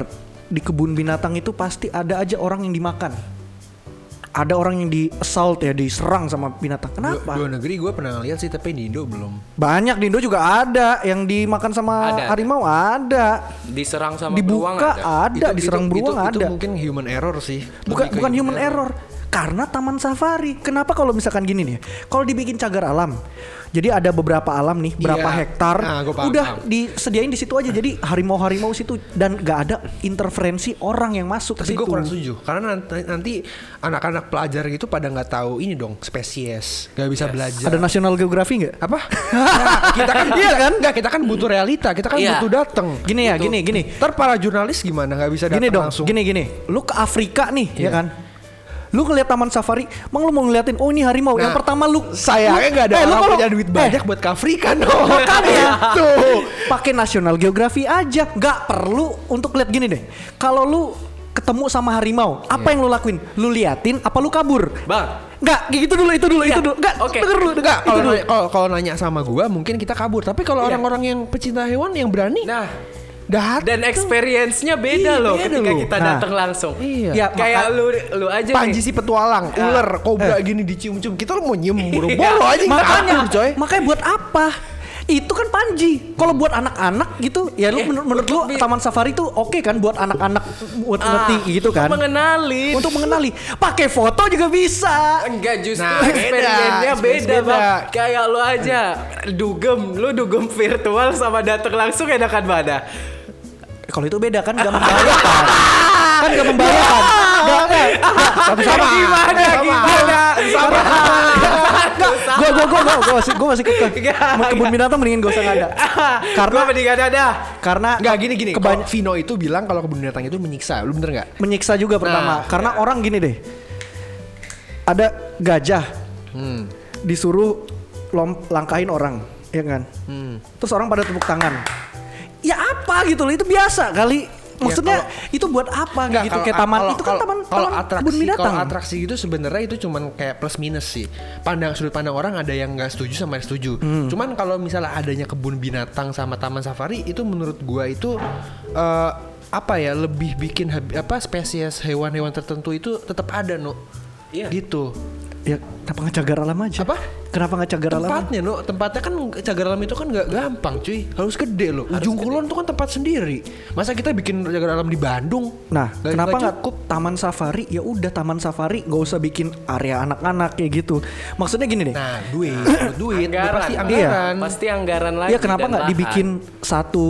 Speaker 1: di kebun binatang itu pasti ada aja orang yang dimakan. ada orang yang di assault ya diserang sama binatang. Kenapa?
Speaker 2: Dua negeri gue pernah lihat sih tapi di Indo belum.
Speaker 1: Banyak di Indo juga ada yang dimakan sama
Speaker 3: Ada, ada.
Speaker 1: harimau ada.
Speaker 3: diserang sama beruang
Speaker 1: Dibuka ah.
Speaker 3: ada.
Speaker 1: ada,
Speaker 2: Itu-
Speaker 1: diserang
Speaker 2: itu-
Speaker 1: beruang
Speaker 2: itu-
Speaker 1: ada.
Speaker 2: Itu mungkin human error sih.
Speaker 1: bukan
Speaker 2: Lebih gitu. ke
Speaker 1: bukan human error. Karena taman safari. Kenapa kalau misalkan gini nih? ya? Kalau dibikin cagar alam. Jadi ada beberapa alam nih, berapa
Speaker 2: Iya.
Speaker 1: hektar
Speaker 2: Ah, gua paham,
Speaker 1: udah
Speaker 2: paham.
Speaker 1: disediain di situ aja. Jadi harimau-harimau situ dan gak ada interferensi orang yang masuk ke
Speaker 2: Tapi gue
Speaker 1: situ.
Speaker 2: kurang setuju karena nanti, nanti anak-anak pelajar gitu pada nggak tahu ini dong spesies, nggak bisa belajar.
Speaker 1: Ada National Geography nggak?
Speaker 2: apa? Nah, kita kan
Speaker 1: Iya kan?
Speaker 2: Nggak kita kan butuh realita, kita kan
Speaker 3: Iya.
Speaker 2: butuh dateng.
Speaker 1: Gini ya, gini, gini.
Speaker 2: Ntar para jurnalis gimana nggak bisa datang
Speaker 1: Gini dong,
Speaker 2: langsung?
Speaker 1: gini gini. Lu ke Afrika nih, ya
Speaker 2: Iya.
Speaker 1: kan? Lu ngeliat taman safari, emang lu mau ngeliatin, oh ini harimau. yang
Speaker 2: Nah,
Speaker 1: pertama lu
Speaker 2: Sayangnya
Speaker 1: lu-
Speaker 2: nggak ada
Speaker 1: eh, lu
Speaker 2: orang
Speaker 1: kalau-
Speaker 2: punya duit
Speaker 1: eh, ya.
Speaker 2: banyak Gitu. buat kan? Oh, ke Afrika dong. itu.
Speaker 1: pakai National Geography aja nggak perlu untuk lihat gini deh kalau lu ketemu sama harimau apa
Speaker 2: Iya.
Speaker 1: yang lu lakuin lu liatin apa lu kabur
Speaker 3: Bang. Iya.
Speaker 1: nggak gitu dulu itu dulu itu dulu nggak
Speaker 3: oke.
Speaker 1: denger dulu
Speaker 2: Enggak,
Speaker 1: nggak
Speaker 2: kalau nanya, kalau, kalau nanya sama gua mungkin kita kabur. Tapi kalau orang-orang yang pecinta hewan yang berani,
Speaker 3: Nah,
Speaker 2: dah
Speaker 3: dan experience-nya beda
Speaker 2: Iya,
Speaker 3: loh
Speaker 2: beda
Speaker 3: ketika
Speaker 2: loh.
Speaker 3: kita
Speaker 1: Nah.
Speaker 3: datang langsung.
Speaker 2: Iya.
Speaker 1: Ya,
Speaker 3: Kayak
Speaker 1: maka-
Speaker 3: lu lu aja
Speaker 2: panji
Speaker 3: nih.
Speaker 2: si petualang,
Speaker 3: Ya.
Speaker 2: ular, kobra gini dicium-cium. Kita lu mau nyium boro-boro aja nggak
Speaker 1: makanya
Speaker 2: kabur, coy.
Speaker 1: makanya buat apa itu kan panji kalau buat anak-anak gitu ya lu
Speaker 3: Eh,
Speaker 1: menur- menurut lu
Speaker 3: untuk bi-
Speaker 1: taman safari tuh oke kan buat anak-anak buat
Speaker 3: Ah,
Speaker 1: ngerti gitu kan
Speaker 3: Mengenali.
Speaker 1: untuk mengenali pakai foto juga bisa
Speaker 3: Enggak justru
Speaker 2: Nah, beda.
Speaker 3: experience-nya
Speaker 2: Experience
Speaker 3: beda,
Speaker 2: beda.
Speaker 3: Bang. Kayak lu aja dugem, lu dugem virtual sama datang langsung enakan mana?
Speaker 1: Kalau itu beda kan gak membahayakan. kan gak
Speaker 2: Iya,
Speaker 1: membahayakan. Gak, gak, gak. Tapi sama.
Speaker 3: Gimana gimana? Sama.
Speaker 1: Gue, gue, gue, gue, gue masih, gue masih
Speaker 2: Iya,
Speaker 1: ke,
Speaker 3: Nggak,
Speaker 1: mau kebun
Speaker 3: nggak.
Speaker 1: binatang mendingan gak usah ada.
Speaker 2: Ah,
Speaker 3: Karena
Speaker 1: Karena,
Speaker 3: mendingan ada.
Speaker 1: karena
Speaker 2: Enggak gini gini.
Speaker 1: kebanyak-
Speaker 2: Kalau Vino itu bilang kalau kebun binatang itu menyiksa, lu bener nggak?
Speaker 1: menyiksa juga pertama.
Speaker 2: Nah,
Speaker 1: karena orang gini deh, ada gajah
Speaker 2: Hmm.
Speaker 1: disuruh lom, langkahin orang, ya kan?
Speaker 2: Hmm.
Speaker 1: Terus orang pada tepuk tangan. Ya apa gitu loh, itu biasa kali. Maksudnya itu buat apa
Speaker 2: Ya, Enggak,
Speaker 1: gitu
Speaker 2: kalau-
Speaker 1: kayak taman
Speaker 2: kalau-
Speaker 1: itu kan
Speaker 2: kalau-
Speaker 1: taman
Speaker 2: kalau
Speaker 1: taman
Speaker 2: atraksi,
Speaker 1: kebun binatang.
Speaker 2: Kalau atraksi gitu sebenarnya itu cuman kayak plus minus sih. Pandang sudut pandang orang ada yang nggak setuju sama yang setuju.
Speaker 1: Hmm.
Speaker 2: Cuman kalau misalnya adanya kebun binatang sama taman safari itu menurut gua itu eh, apa ya lebih bikin hab- apa spesies hewan-hewan tertentu itu tetap ada no.
Speaker 3: Iya.
Speaker 2: Gitu.
Speaker 1: Ya kenapa nggak cagar alam aja?
Speaker 2: Apa?
Speaker 1: Kenapa nggak cagar alam?
Speaker 2: Tempatnya no, tempatnya kan cagar alam itu kan nggak gampang cuy. Harus gede loh. Ujung kulon tuh kan tempat sendiri. Masa kita bikin cagar alam di Bandung?
Speaker 1: Nah,
Speaker 2: Nggak-
Speaker 1: kenapa nggak
Speaker 2: cukup?
Speaker 1: taman safari? Ya udah taman safari nggak usah bikin area anak-anak kayak gitu. Maksudnya gini deh.
Speaker 2: Nah, duit, menurut duit,
Speaker 3: Anggaran.
Speaker 2: pasti
Speaker 3: Bang.
Speaker 2: anggaran. Iya.
Speaker 3: Pasti anggaran lagi.
Speaker 1: ya kenapa
Speaker 3: dan
Speaker 1: nggak
Speaker 3: lahan.
Speaker 1: dibikin satu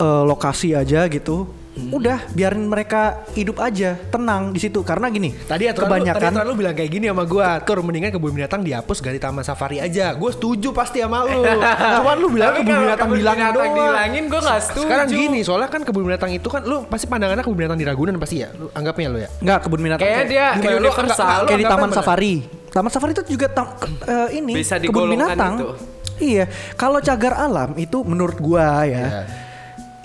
Speaker 1: eh, lokasi aja gitu?
Speaker 3: Hmm.
Speaker 1: Udah biarin mereka hidup aja tenang di situ karena gini.
Speaker 2: Tadi aturan lu, tadi
Speaker 1: kebanyakan
Speaker 3: kan
Speaker 2: aturan lu bilang kayak gini sama gua, tur mendingan kebun binatang dihapus ganti taman safari aja. Gua setuju pasti sama lu. Cuman lu bilang
Speaker 3: Tapi
Speaker 2: kebun
Speaker 3: kalau
Speaker 2: binatang
Speaker 3: kebun
Speaker 2: dihilangin
Speaker 3: binatang
Speaker 2: doang.
Speaker 3: dihilangin, gua nggak
Speaker 2: Se-
Speaker 3: setuju.
Speaker 2: Sekarang gini, soalnya kan kebun binatang itu kan lu pasti pandangannya kebun binatang di Ragunan pasti ya. Lu anggapnya lu ya.
Speaker 1: nggak kebun binatang.
Speaker 3: Kayaknya
Speaker 1: kayak-
Speaker 3: dia
Speaker 2: Gimana, lu
Speaker 3: universal.
Speaker 2: nggak-
Speaker 1: kayak di
Speaker 2: anggapan
Speaker 1: taman
Speaker 2: bener.
Speaker 1: safari. Taman safari itu juga tam- ke- eh, ini
Speaker 3: Bisa
Speaker 1: kebun
Speaker 3: digolongkan
Speaker 1: binatang.
Speaker 3: itu.
Speaker 1: Iya, kalau cagar alam itu menurut gua ya.
Speaker 2: Iya.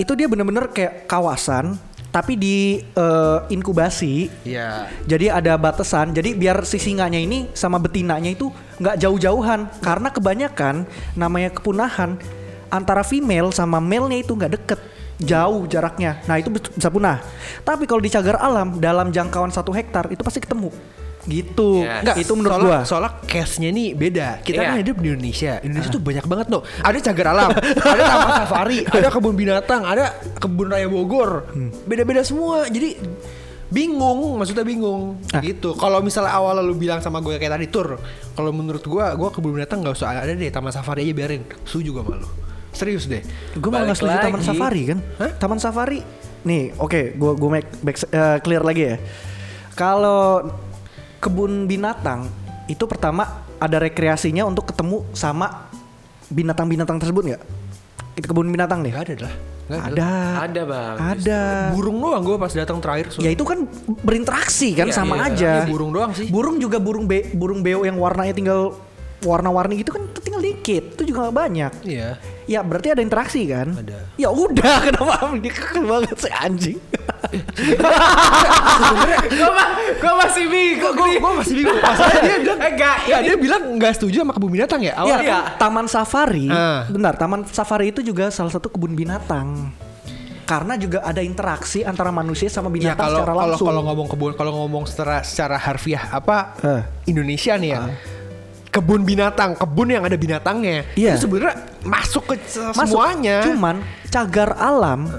Speaker 1: Itu dia bener-bener kayak kawasan tapi di eh, inkubasi.
Speaker 2: Iya.
Speaker 1: Jadi ada batasan. Jadi biar si singanya ini sama betinanya itu nggak jauh-jauhan karena kebanyakan namanya kepunahan antara female sama male-nya itu nggak deket jauh jaraknya. Nah itu bis- bisa punah. Tapi kalau di cagar alam dalam jangkauan satu hektar itu pasti ketemu. Gitu.
Speaker 3: Yes.
Speaker 1: Nggak, itu menurut
Speaker 2: soalnya,
Speaker 1: gua.
Speaker 2: Soalnya case-nya nih beda. Kita
Speaker 3: Iya.
Speaker 2: kan hidup di Indonesia. Indonesia tuh banyak banget no. Ada cagar alam, ada taman safari, ada kebun binatang, ada kebun raya Bogor. Beda-beda semua. Jadi bingung, maksudnya bingung
Speaker 1: Ah.
Speaker 2: gitu. Kalau misalnya awal lu bilang sama gue kayak tadi tur, kalau menurut gue, gue kebun binatang nggak usah ada deh, taman safari aja biarin. Setuju gue malu. Serius deh.
Speaker 1: Gue malah nggak
Speaker 3: Balik
Speaker 1: setuju taman
Speaker 3: lagi.
Speaker 1: safari kan.
Speaker 2: Hah?
Speaker 1: Taman safari. Nih, oke, gua gua make back- eh, clear lagi ya. Kalau kebun binatang itu pertama ada rekreasinya untuk ketemu sama binatang-binatang tersebut nggak? Itu kebun binatang nih.
Speaker 2: Gak ada lah. Nggak
Speaker 1: Ada.
Speaker 2: ada.
Speaker 1: Ada.
Speaker 3: Ada, Bang.
Speaker 2: Burung doang gue pas datang terakhir.
Speaker 1: Ya itu kan berinteraksi kan
Speaker 3: Iya,
Speaker 1: sama
Speaker 3: iya,
Speaker 1: aja.
Speaker 2: iya, burung doang sih.
Speaker 1: Burung juga burung be burung beo yang warnanya tinggal warna-warni gitu kan tinggal dikit. Itu juga nggak banyak.
Speaker 2: Iya.
Speaker 1: Ya berarti ada interaksi kan?
Speaker 2: Ada.
Speaker 1: Ya udah kenapa dikekang banget sih anjing?
Speaker 2: Eh,
Speaker 3: Gua, ma- gua masih bingung.
Speaker 2: Gue
Speaker 3: nih. Eh,
Speaker 2: masih bingung. Masalahnya dia bilang
Speaker 3: Enggak,
Speaker 2: Ya dia bilang nggak setuju sama kebun binatang ya
Speaker 1: ya,
Speaker 2: awal.
Speaker 3: Iya.
Speaker 1: taman safari.
Speaker 2: Ah.
Speaker 1: Benar, taman safari itu juga salah satu kebun binatang. karena juga ada interaksi antara manusia sama
Speaker 2: Ya
Speaker 1: binatang
Speaker 2: kalau
Speaker 1: secara
Speaker 2: kalau
Speaker 1: langsung.
Speaker 2: kalau ngomong kebun kalau ngomong secara secara harfiah apa
Speaker 1: Eh.
Speaker 2: Indonesia nih ya. Kebun binatang, kebun yang ada binatangnya.
Speaker 1: Iya.
Speaker 2: Itu sebenarnya masuk ke se-
Speaker 1: Masuk.
Speaker 2: semuanya.
Speaker 1: Cuman cagar alam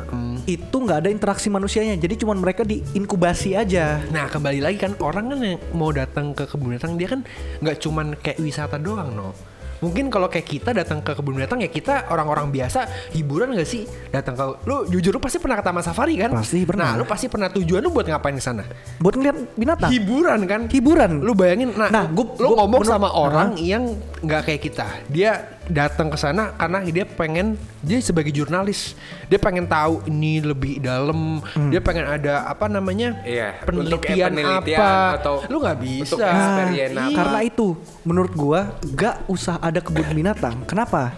Speaker 1: itu nggak ada interaksi manusianya. Jadi cuman mereka diinkubasi aja.
Speaker 2: Nah kembali lagi kan orang kan yang mau datang ke kebun binatang dia kan nggak cuman kayak wisata doang no. Mungkin kalau kayak kita datang ke kebun binatang ya kita orang-orang biasa hiburan gak sih datang ke lu jujur lu pasti pernah ke taman safari kan?
Speaker 1: Pasti pernah.
Speaker 2: Nah lu pasti pernah tujuan lu buat ngapain ke sana?
Speaker 1: Buat ngeliat binatang.
Speaker 2: Hiburan kan?
Speaker 1: Nah, Hiburan.
Speaker 2: Lu bayangin nah,
Speaker 1: Nah,
Speaker 2: lu
Speaker 1: gua- gua
Speaker 2: ngomong
Speaker 1: bener-
Speaker 2: sama orang yang nggak kayak kita. Dia datang ke sana karena dia pengen dia sebagai jurnalis. Dia pengen tahu ini lebih dalam.
Speaker 1: Hmm.
Speaker 2: Dia pengen ada apa namanya?
Speaker 3: Iya, untuk
Speaker 2: penelitian,
Speaker 3: kayak penelitian
Speaker 2: apa?
Speaker 3: atau
Speaker 2: lu nggak bisa.
Speaker 3: untuk
Speaker 2: iya.
Speaker 3: eksperimen
Speaker 1: Nah,
Speaker 3: apa.
Speaker 1: Karena itu menurut gua gak usah ada kebun binatang. Kenapa?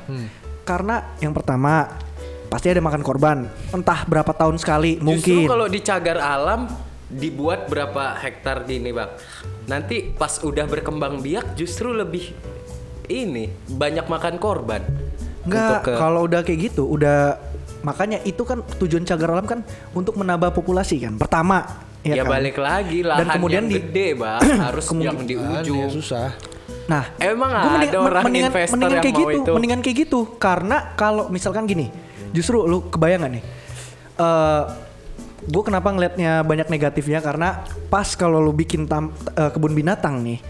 Speaker 1: Karena yang pertama pasti ada makan korban. Entah berapa tahun sekali
Speaker 3: Justru
Speaker 1: mungkin.
Speaker 3: kalau di cagar alam dibuat berapa hektar gini bang? Nanti pas udah berkembang biak justru lebih ini banyak makan korban.
Speaker 1: Enggak,
Speaker 3: Untuk ke-
Speaker 1: kalau udah kayak gitu udah makanya itu kan tujuan cagar alam kan untuk menambah populasi kan. Pertama
Speaker 3: ya,
Speaker 1: kan?
Speaker 3: balik lagi lahan
Speaker 1: kemudian
Speaker 3: yang
Speaker 1: di-
Speaker 3: gede bang harus yang di ujung.
Speaker 2: susah.
Speaker 1: Nah,
Speaker 3: Emang
Speaker 1: gua
Speaker 3: ada orang
Speaker 1: mendingan,
Speaker 3: investor
Speaker 1: mendingan
Speaker 3: yang
Speaker 1: kayak
Speaker 3: mau
Speaker 1: gitu,
Speaker 3: itu?
Speaker 1: mendingan kayak gitu. Karena kalau misalkan gini, justru lu kebayang gak nih? Eh gue kenapa ngelihatnya banyak negatifnya karena pas kalau lu bikin tam- eh, kebun binatang nih,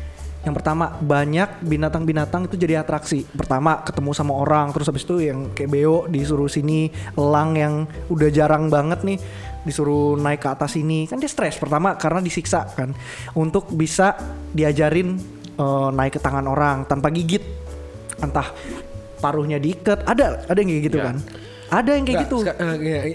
Speaker 1: yang pertama banyak binatang-binatang itu jadi atraksi. Pertama ketemu sama orang, terus habis itu yang kayak beo disuruh sini, elang yang udah jarang banget nih disuruh naik ke atas ini kan dia stres pertama karena disiksa kan untuk bisa diajarin eh, naik ke tangan orang tanpa gigit entah paruhnya diikat ada ada yang kayak gitu
Speaker 2: Iya.
Speaker 3: Ya.
Speaker 1: kan ada yang kayak gitu
Speaker 2: eh,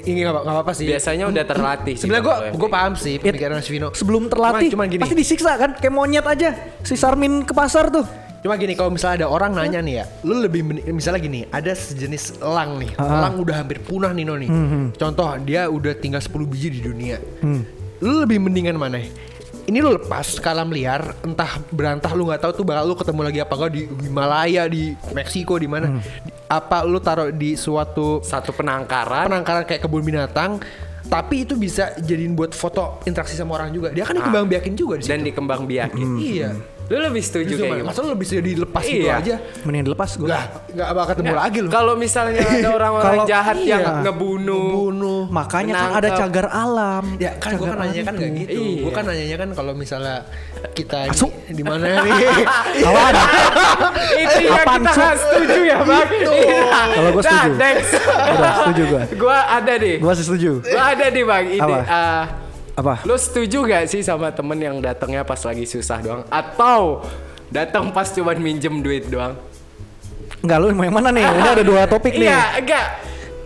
Speaker 2: ini nggak apa- nggak apa-apa sih.
Speaker 3: Biasanya udah terlatih. sih,
Speaker 2: Sebenarnya
Speaker 3: Bang,
Speaker 2: gue
Speaker 3: kalau yang
Speaker 2: gue
Speaker 3: kayak
Speaker 2: paham sih pemikiran Mas Vino.
Speaker 1: sebelum terlatih
Speaker 2: Cuman, cuman gini.
Speaker 1: pasti disiksa kan kayak monyet aja si Sarmin ke pasar tuh
Speaker 2: Cuma gini kalau misalnya ada orang nanya nih ya, lu lebih men- misalnya gini, ada sejenis elang nih.
Speaker 3: Ah.
Speaker 2: Elang udah hampir punah nih Noni.
Speaker 3: Mhm.
Speaker 2: Contoh dia udah tinggal 10 biji di dunia.
Speaker 3: Hmm.
Speaker 2: Lu lebih mendingan mana? Ini lu lepas ke alam liar, entah berantah lu nggak tahu tuh bakal lu ketemu lagi apa enggak di Himalaya, di Meksiko, di mana.
Speaker 3: Hmm.
Speaker 2: Apa lu taruh di suatu
Speaker 3: Satu penangkaran.
Speaker 2: penangkaran kayak kebun binatang, tapi itu bisa jadiin buat foto interaksi sama orang juga. Dia kan
Speaker 3: Ah.
Speaker 2: dikembang biakin juga di situ.
Speaker 3: dan dikembang biakin.
Speaker 1: Hmm.
Speaker 2: Iya.
Speaker 3: Lu lebih
Speaker 2: Justru
Speaker 3: setuju Hmm. kayak
Speaker 2: mana?
Speaker 3: gitu?
Speaker 2: Masa lu lebih bisa dilepas gitu
Speaker 3: Iya.
Speaker 2: aja?
Speaker 1: mendingan dilepas gue
Speaker 2: Nggak, nggak bakal ketemu lagi lu.
Speaker 3: Kalau misalnya ada orang-orang
Speaker 1: Kalau-
Speaker 3: jahat yang
Speaker 1: iya.
Speaker 3: ngebunuh,
Speaker 2: bunuh.
Speaker 1: makanya kan ada
Speaker 3: Menangkap.
Speaker 1: cagar alam
Speaker 2: Ya kan gue
Speaker 1: Cagar
Speaker 2: kan
Speaker 1: alam
Speaker 2: nanya kan
Speaker 1: itu.
Speaker 2: nggak gitu.
Speaker 3: Iya.
Speaker 2: Gue kan nanyanya kan kalau misalnya kita
Speaker 1: Masuk.
Speaker 2: di, di mana nih?
Speaker 1: Kawan,
Speaker 3: itu yang
Speaker 1: Eh, Apaan,
Speaker 3: kita
Speaker 1: Su?
Speaker 3: nggak setuju ya bang. Iya.
Speaker 1: Kalau gua setuju.
Speaker 3: Nah, next.
Speaker 1: Udah, setuju gua.
Speaker 3: Gua ada nih.
Speaker 1: gue masih setuju
Speaker 3: Gua ada nih bang. Ini.
Speaker 1: Apa?
Speaker 3: ah,
Speaker 1: apa
Speaker 3: Lo setuju gak sih sama temen yang datangnya pas lagi susah doang? Atau datang pas cuman minjem duit doang?
Speaker 1: nggak lu mau yang mana nih ini ada dua topik nih
Speaker 3: Iya, enggak.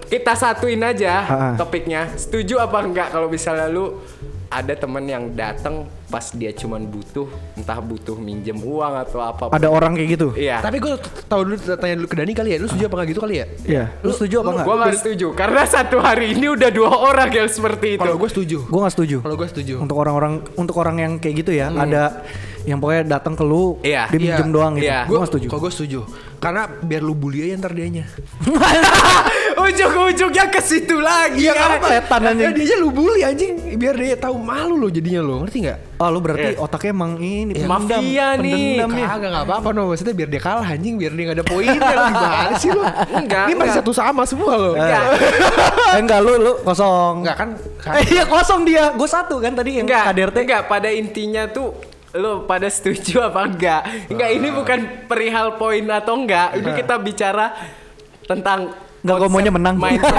Speaker 3: Kita satuin aja
Speaker 1: Ha-ha.
Speaker 3: topiknya. Setuju apa enggak kalau misalnya lu ada temen yang datang pas dia cuman butuh entah butuh minjem uang atau apa.
Speaker 1: ada orang kayak gitu
Speaker 3: Iya.
Speaker 2: Tapi gue tahu dulu tanya dulu ke Dani kali ya. Lu setuju apa nggak gitu kali ya?
Speaker 1: Iya, lu setuju apa nggak
Speaker 3: Gua gak setuju karena satu hari ini udah dua orang yang seperti itu.
Speaker 2: Kalau gue setuju.
Speaker 1: gue nggak setuju
Speaker 2: Kalau gue setuju. Hmm.
Speaker 1: untuk orang-orang untuk orang yang kayak gitu ya ada yang pokoknya datang ke lu
Speaker 3: Iya,
Speaker 1: dia minjem
Speaker 2: iya,
Speaker 1: doang gitu
Speaker 3: iya.
Speaker 1: gue gak setuju
Speaker 2: Kalau gue setuju. Karena biar lu bully aja ntar dianya.
Speaker 3: Ujung-ujungnya ke situ lagi.
Speaker 1: Iya,
Speaker 3: kan?
Speaker 1: apa? Setan anjing.
Speaker 2: Ya, dia aja lu bully anjing. Biar dia tahu malu lo jadinya lo. Ngerti nggak?
Speaker 1: oh lu berarti
Speaker 3: Iya.
Speaker 1: otaknya emang ini
Speaker 3: Mafia nih,
Speaker 1: pendendam nih
Speaker 3: iya.
Speaker 2: Kagak nggak apa-apa no maksudnya biar dia kalah anjing biar dia nggak ada poin Lu gimana sih lo?
Speaker 3: Enggak,
Speaker 2: Ini masih
Speaker 3: enggak.
Speaker 2: satu sama semua lo.
Speaker 1: Eh. eh enggak lu lu kosong
Speaker 2: Enggak kan? kan-
Speaker 1: eh iya kosong dia gue satu kan tadi yang
Speaker 3: Enggak,
Speaker 1: KDRT
Speaker 3: enggak pada intinya tuh lo pada setuju apa enggak? Enggak, ini
Speaker 1: Ah.
Speaker 3: bukan perihal poin atau enggak. Ini kita bicara tentang
Speaker 1: Eh. Enggak, gua
Speaker 3: konsep
Speaker 1: maunya menang.
Speaker 3: mindset.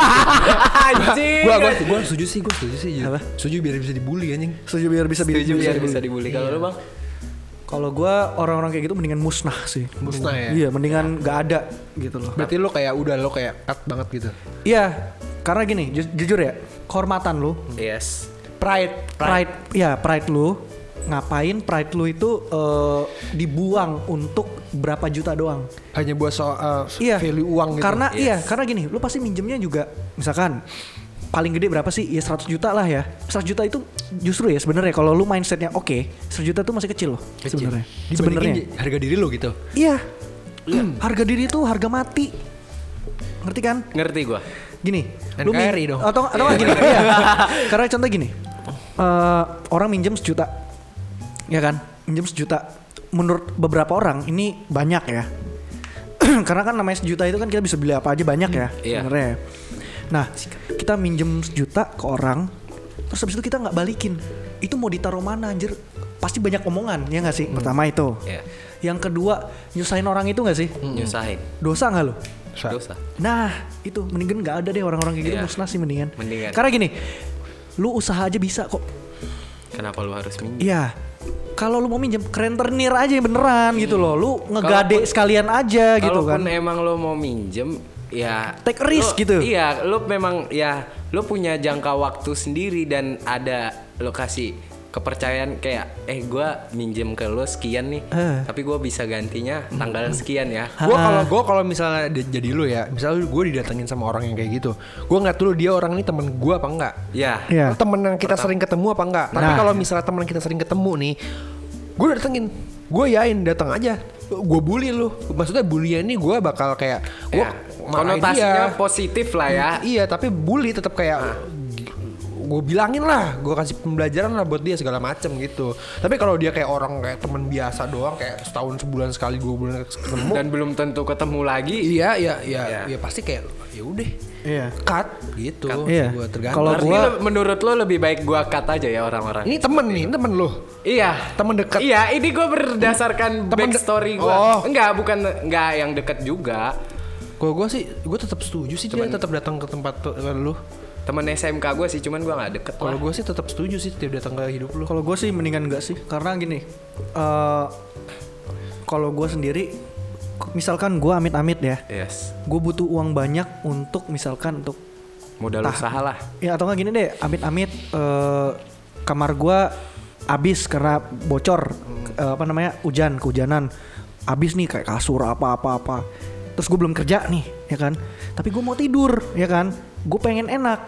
Speaker 3: Anjing.
Speaker 2: gua gua gua setuju sih gua setuju sih jujur.
Speaker 1: iya. Apa?
Speaker 2: setuju biar bisa dibully anjing
Speaker 1: setuju biar bisa
Speaker 3: setuju
Speaker 1: bisa
Speaker 3: biar
Speaker 1: dibully. Iya.
Speaker 3: bisa dibully kalau lo Bang.
Speaker 1: kalau gue orang-orang kayak gitu mendingan musnah sih
Speaker 2: Musnah ya?
Speaker 1: iya mendingan nggak ada gitu loh
Speaker 2: berarti lo kayak udah lo kayak cut banget gitu
Speaker 1: iya karena gini ju- jujur ya kehormatan lu
Speaker 3: Yes.
Speaker 2: pride
Speaker 1: pride ya pride lu ngapain pride lu itu eh, dibuang untuk berapa juta doang
Speaker 2: hanya buat soal uh,
Speaker 1: iya
Speaker 2: value uang gitu
Speaker 1: karena iya karena gini lu pasti minjemnya juga misalkan paling gede berapa sih ya 100 juta lah ya 100 juta itu justru ya sebenarnya kalau lu mindsetnya oke 100 juta itu masih kecil loh
Speaker 2: Kecil.
Speaker 1: sebenarnya
Speaker 2: Dibandingin Iya.
Speaker 1: sebenarnya
Speaker 2: j- harga diri lo gitu
Speaker 1: iya harga diri itu harga mati ngerti kan
Speaker 3: Ngerti gua.
Speaker 1: gini,
Speaker 2: NKRI
Speaker 1: min-
Speaker 2: dong.
Speaker 1: Atau atau nggak gini. iya. Karena contoh gini. eh, orang minjem sejuta. Ya kan? Minjem sejuta. Menurut beberapa orang ini banyak ya. Karena kan namanya sejuta itu kan kita bisa beli apa aja banyak ya
Speaker 3: Iya.
Speaker 1: sebenarnya. ya. Nah, kita minjem sejuta ke orang, terus habis itu kita nggak balikin. Itu mau ditaruh mana anjir? Pasti banyak omongan ya nggak sih? Pertama itu.
Speaker 3: Iya. Hmm.
Speaker 1: Yang kedua, nyusahin orang itu nggak sih?
Speaker 3: Nyusahin.
Speaker 1: Dosa nggak lo?
Speaker 3: Dosa.
Speaker 1: Nah, itu mendingan nggak ada deh orang-orang kayak gitu
Speaker 3: Iya.
Speaker 1: musnah sih mendingan.
Speaker 3: Mendingan.
Speaker 1: Karena gini, lu usaha aja bisa kok.
Speaker 3: Kenapa lu harus minjem?
Speaker 1: Iya. Kalau lu mau minjem ke rentenir aja yang beneran gitu loh. Lu ngegade
Speaker 3: Kalaupun-
Speaker 1: sekalian aja gitu kan.
Speaker 3: Kalaupun emang lo mau minjem, ya
Speaker 1: Take a risk
Speaker 3: lo-
Speaker 1: gitu.
Speaker 3: Iya, lo memang ya lo punya jangka waktu sendiri dan ada lokasi kepercayaan kayak eh gua minjem ke lo sekian nih,
Speaker 1: Eh.
Speaker 3: tapi gua bisa gantinya tanggal sekian ya.
Speaker 2: Gue kalau gue kalau misalnya di- jadi lu ya, misalnya gue didatengin sama orang yang kayak gitu, gue nggak tahu dia orang ini temen gue apa enggak.
Speaker 3: Ya.
Speaker 1: Iya.
Speaker 2: Temen yang kita sering ketemu apa enggak? Tapi
Speaker 1: Nah.
Speaker 2: kalau misalnya temen kita sering ketemu nih, gue datengin, gue yain datang aja, gue bully lu. Maksudnya bullyan ini gue bakal kayak gue
Speaker 3: Ya. Konotasinya positif lah ya. Ah.
Speaker 2: Iya, tapi bully tetap kayak gue bilangin lah, gue kasih pembelajaran lah buat dia segala macem gitu. Tapi kalau dia kayak orang kayak temen biasa doang, kayak setahun sebulan sekali dua bulan
Speaker 1: Iya.
Speaker 2: ketemu,
Speaker 3: Dan belum tentu ketemu lagi.
Speaker 2: Iya, iya, iya,
Speaker 3: Iya.
Speaker 2: iya pasti kayak ya udah
Speaker 1: Iya.
Speaker 2: cut gitu.
Speaker 1: Iya.
Speaker 2: Gua tergantung.
Speaker 1: Kalau
Speaker 3: Berarti
Speaker 1: gua-
Speaker 3: lo- menurut lo lebih baik gua cut aja ya orang-orang.
Speaker 2: ini temen nih, ini temen lo,
Speaker 3: Iya.
Speaker 2: temen dekat.
Speaker 3: Iya, ini gue berdasarkan
Speaker 2: Temen de-
Speaker 3: backstory gue.
Speaker 2: Oh.
Speaker 3: Enggak, bukan enggak yang deket juga.
Speaker 2: Kalau gue sih, gue tetap setuju sih dia tetap datang ke tempat tuh, eh, lu.
Speaker 3: Temen SMK gue sih, cuman gue nggak deket.
Speaker 2: Kalau
Speaker 3: lah.
Speaker 2: gue sih tetap setuju sih tiap datang ke hidup
Speaker 3: e-
Speaker 2: lu.
Speaker 1: Kalau gue sih mendingan nggak sih, karena gini, eh kalau gue sendiri, misalkan gue amit-amit ya,
Speaker 3: yes,
Speaker 1: gue butuh uang banyak untuk misalkan untuk
Speaker 3: modal usaha lah.
Speaker 1: ya atau nggak gini deh amit-amit eh, kamar gua abis karena bocor eh, apa namanya hujan kehujanan abis nih kayak kasur apa apa apa terus gue belum kerja nih ya kan tapi gue mau tidur ya kan gue pengen enak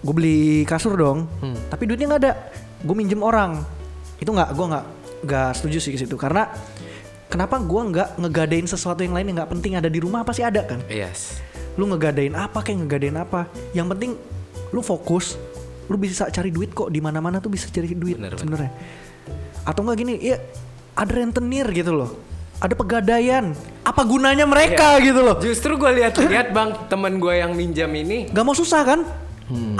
Speaker 1: gue beli kasur dong tapi duitnya nggak ada gue minjem orang itu nggak gue nggak nggak setuju sih ke situ karena kenapa gua nggak ngegadein sesuatu yang lain yang nggak penting ada di rumah pasti ada kan
Speaker 3: Yes.
Speaker 1: lu ngegadain apa kayak ngegadain apa yang penting lu fokus lu bisa cari duit kok di mana mana tuh bisa cari duit
Speaker 3: Bener, bener.
Speaker 1: sebenarnya atau enggak gini ya ada rentenir gitu loh ada pegadaian apa gunanya mereka
Speaker 3: Iya.
Speaker 1: gitu loh
Speaker 3: Justru gue lihat-lihat bang temen gue yang minjam ini.
Speaker 1: nggak mau susah kan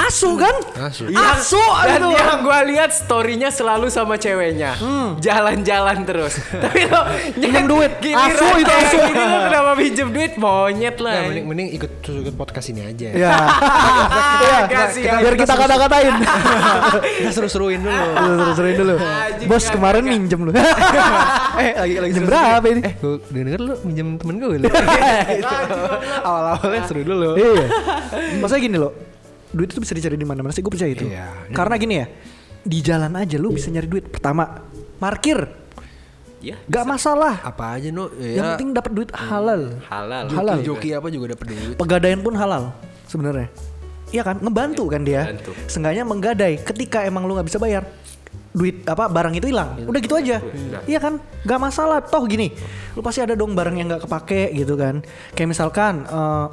Speaker 1: asu kan
Speaker 2: Asu.
Speaker 1: asu
Speaker 3: Hmm. Dan
Speaker 1: gitu.
Speaker 3: yang gue lihat storynya selalu sama ceweknya, jalan-jalan terus. Tapi lo
Speaker 1: Hmm. Minjem duit.
Speaker 3: gini
Speaker 1: Asu
Speaker 3: Ran,
Speaker 1: itu,
Speaker 3: kayak
Speaker 1: asu.
Speaker 3: Gini lo kenapa pinjem duit? Monyet lah.
Speaker 2: Nah, mending, mending ikut ikut podcast ini aja.
Speaker 1: ya
Speaker 3: Ah, kasihan.
Speaker 1: biar kita kata-katain
Speaker 2: Kita seru-seruin dulu.
Speaker 1: seru-seruin dulu
Speaker 3: Anjing,
Speaker 1: bos
Speaker 3: gak-
Speaker 1: kemarin minjem lu eh lagi lagi berapa ini
Speaker 2: Eh, gue denger lu minjem temen gue lu. Awal-awalnya seru dulu.
Speaker 1: Iya. Maksudnya gini loh, duit itu bisa dicari di mana-mana sih gue percaya itu.
Speaker 2: Iya.
Speaker 1: Karena gini ya, di jalan aja lu bisa nyari duit. Pertama, parkir
Speaker 3: Ya,
Speaker 1: gak masalah.
Speaker 2: Apa aja nu?
Speaker 1: Yang penting dapat duit halal.
Speaker 3: halal.
Speaker 1: Halal.
Speaker 2: Joki apa juga dapet duit.
Speaker 1: Pegadaian pun halal sebenarnya. Iya kan, ngebantu kan dia.
Speaker 3: Ngebantu.
Speaker 1: Seenggaknya menggadai ketika emang lu nggak bisa bayar duit apa barang itu hilang udah gitu aja
Speaker 3: Udah.
Speaker 1: iya kan nggak masalah toh gini lu pasti ada dong barang yang nggak kepake gitu kan kayak misalkan eh,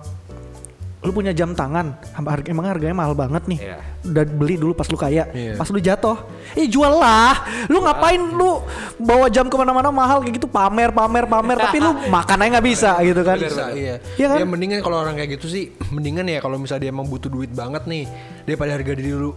Speaker 1: lu punya jam tangan ham- harga- emang harganya mahal banget nih
Speaker 3: Iya.
Speaker 1: udah beli dulu pas lu kaya
Speaker 2: Iya.
Speaker 1: pas lu jatuh eh jual lah lu ngapain lu bawa jam kemana-mana mahal kayak gitu pamer pamer pamer tapi lu makan aja nggak bisa gitu kan
Speaker 2: bisa iya
Speaker 1: Iya kan?
Speaker 2: ya mendingan kalau orang kayak gitu sih mendingan ya kalau misalnya dia emang butuh duit banget nih daripada harga diri lu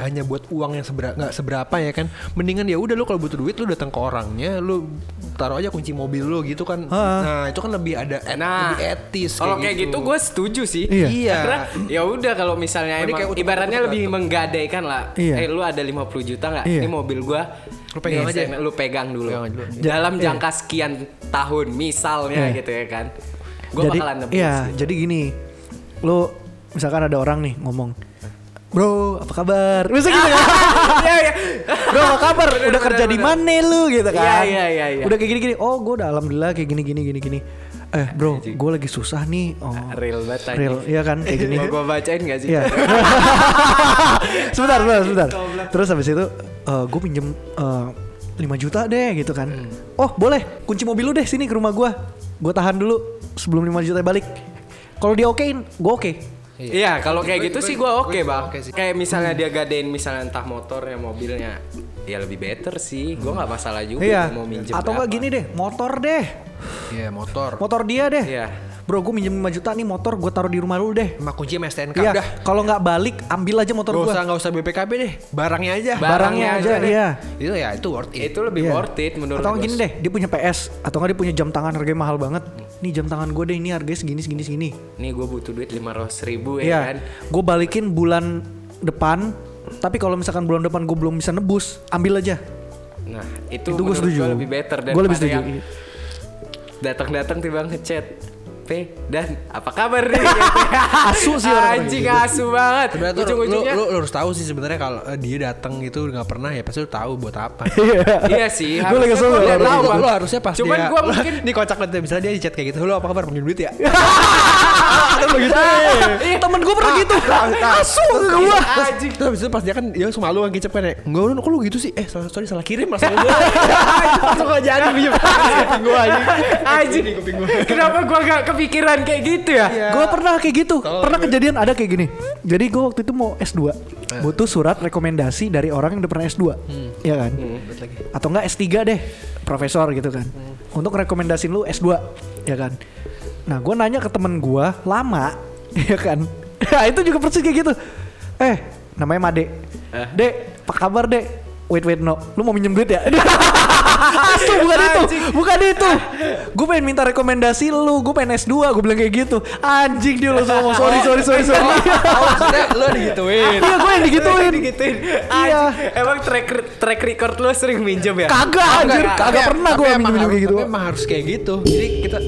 Speaker 2: hanya buat uang yang sebera, nggak seberapa ya kan mendingan ya udah lu kalau butuh duit lu datang ke orangnya lu taruh aja kunci mobil lu gitu kan nah itu kan lebih ada et-
Speaker 3: Nah,
Speaker 2: lebih etis
Speaker 3: Kalau kayak gitu, gue setuju sih.
Speaker 1: Iya.
Speaker 2: Iya.
Speaker 3: Karena ya udah kalau
Speaker 2: Mending kayak
Speaker 3: misalnya emang
Speaker 2: gitu kan. utuk-utuk
Speaker 3: ibaratnya
Speaker 2: utuk-utuk.
Speaker 3: lebih menggadaikan lah.
Speaker 1: Iya.
Speaker 3: Eh lu ada 50 juta nggak?
Speaker 1: Iya.
Speaker 3: Ini mobil gua.
Speaker 2: Lu pegang
Speaker 3: nih,
Speaker 2: aja.
Speaker 3: sen- Lu pegang dulu.
Speaker 2: Pegang aja dulu.
Speaker 3: Dalam jangka sekian tahun misalnya
Speaker 1: Iya.
Speaker 3: gitu ya kan. Gue
Speaker 1: jadi,
Speaker 3: bakalan nebus.
Speaker 1: Iya,
Speaker 3: gitu.
Speaker 1: jadi gini. Lu misalkan ada orang nih ngomong, "Bro, apa kabar?" Bisa gitu kan?
Speaker 3: Iya, iya.
Speaker 1: Bro, apa kabar? udah
Speaker 3: Bener, bener,
Speaker 1: kerja di
Speaker 3: bener.
Speaker 1: mana lu gitu kan?
Speaker 3: Iya, iya, iya, iya.
Speaker 1: Udah kayak gini-gini. Oh, gue udah alhamdulillah kayak gini-gini gini-gini. Eh, bro, gue lagi susah nih. Oh,
Speaker 3: Iya, Real banget anjing.
Speaker 1: real, iya kan? Kayak gini.
Speaker 3: Mau gue bacain gak sih?
Speaker 1: Iya. sebentar, sebentar, sebentar. Terus habis itu gue pinjem eh, 5 juta deh gitu kan.
Speaker 3: Hmm.
Speaker 1: Oh, boleh. Kunci mobil lu deh sini ke rumah gua. Gue tahan dulu sebelum 5 juta balik. Kalau dia okein, gue oke.
Speaker 3: Iya, kalau kayak gitu sih gua oke, Bang.
Speaker 2: oke sih.
Speaker 3: Kayak misalnya dia gadein misalnya entah motornya, mobilnya, ya lebih better sih. Gua nggak masalah juga
Speaker 1: Iya.
Speaker 3: mau minjem.
Speaker 1: Atau enggak
Speaker 3: berapa.
Speaker 1: gini deh, motor deh.
Speaker 2: Iya motor.
Speaker 1: Motor dia deh.
Speaker 3: Iya.
Speaker 1: Bro, gue minjem 5 juta nih motor gue taruh di rumah lu deh.
Speaker 2: Sama kunci sama STNK.
Speaker 1: Iya,
Speaker 2: Udah.
Speaker 1: kalau nggak balik ambil aja motor
Speaker 2: Gak
Speaker 1: gue.
Speaker 2: usah nggak usah BPKB deh. Barangnya aja.
Speaker 3: Ba- barangnya
Speaker 1: Barangnya aja,
Speaker 3: aja deh.
Speaker 1: iya.
Speaker 2: itu ya itu worth it.
Speaker 3: Itu lebih worth it menurut
Speaker 1: atau
Speaker 3: gua.
Speaker 1: gini deh, dia punya PS atau nggak dia punya jam tangan harganya mahal banget.
Speaker 3: Hmm.
Speaker 1: Nih jam tangan gue deh ini harganya segini segini segini.
Speaker 3: Nih gue butuh duit 500 ribu ya kan.
Speaker 1: Iya, gue balikin bulan depan. Tapi kalau misalkan bulan depan gue belum bisa nebus, ambil aja.
Speaker 3: Nah, itu,
Speaker 1: Itu gue
Speaker 3: menurut
Speaker 1: setuju.
Speaker 3: gua lebih better
Speaker 1: Gua
Speaker 3: dan
Speaker 1: lebih setuju.
Speaker 3: datang-datang tiba ngechat P dan apa kabar nih?
Speaker 1: Asu sih gitu. orang-orang
Speaker 3: Anjing asu banget.
Speaker 2: Sebenarnya tuh lu,
Speaker 3: Ujung-ujungnya
Speaker 2: lu- lu harus tahu sih sebenarnya kalau eh, dia datang gitu nggak pernah ya pasti lu tahu buat apa.
Speaker 3: Iya sih,
Speaker 1: gue lagi kesel.
Speaker 3: harusnya gua
Speaker 1: sama
Speaker 3: liat
Speaker 1: orang
Speaker 3: tahu,
Speaker 1: itu.
Speaker 2: lu,
Speaker 3: Bang.
Speaker 2: lu harusnya pas
Speaker 3: Cuman
Speaker 2: dia,
Speaker 3: gua mungkin-
Speaker 2: Nih kocak banget misalnya dia di chat kayak gitu. Lu apa kabar pinjam duit ya?
Speaker 1: Nah,
Speaker 3: Ah.
Speaker 1: Iya, Temen gue pernah gitu.
Speaker 2: Nah,
Speaker 1: Asu ke
Speaker 2: Terus-
Speaker 1: gue.
Speaker 2: terus- gitu. Terus abis itu pas dia kan dia langsung malu kan kicap kan ya. Enggak lu kok lu gitu sih? Eh salah sorry salah kirim langsung gue. Langsung gak jadi pinjam. Kuping gue aja.
Speaker 3: Anjing. Kenapa gua gak kepikiran kayak gitu ya?
Speaker 1: Gue pernah kayak gitu. pernah kejadian ada kayak gini. Jadi gue waktu itu mau S2.
Speaker 3: Ah.
Speaker 1: Butuh surat rekomendasi dari orang yang udah pernah S2.
Speaker 3: Hmm.
Speaker 1: Iya kan? Atau enggak S3 deh. Profesor gitu kan.
Speaker 2: Hmm.
Speaker 1: Untuk rekomendasiin lu S2. Ya kan? Nah gue nanya ke temen gue. Lama. Ya kan? Nah, itu juga persis kayak gitu. Eh namanya Made.
Speaker 2: Eh?
Speaker 1: Dek, apa kabar dek? Wait wait no, lu mau minjem duit ya? Asu bukan itu, bukan itu. Gue pengen minta rekomendasi lu, gue pengen S2, gue bilang kayak gitu. Anjing dia langsung ngomong sorry sorry sorry sorry.
Speaker 2: Oh maksudnya lu digituin.
Speaker 1: Iya gue yang digituin.
Speaker 3: Gituin.
Speaker 1: Iya.
Speaker 3: Anjing. Emang track track record lu sering minjem ya?
Speaker 1: Kagak anjir, kagak pernah gue minjem duit kayak gitu.
Speaker 2: Tapi emang harus kayak gitu. Jadi kita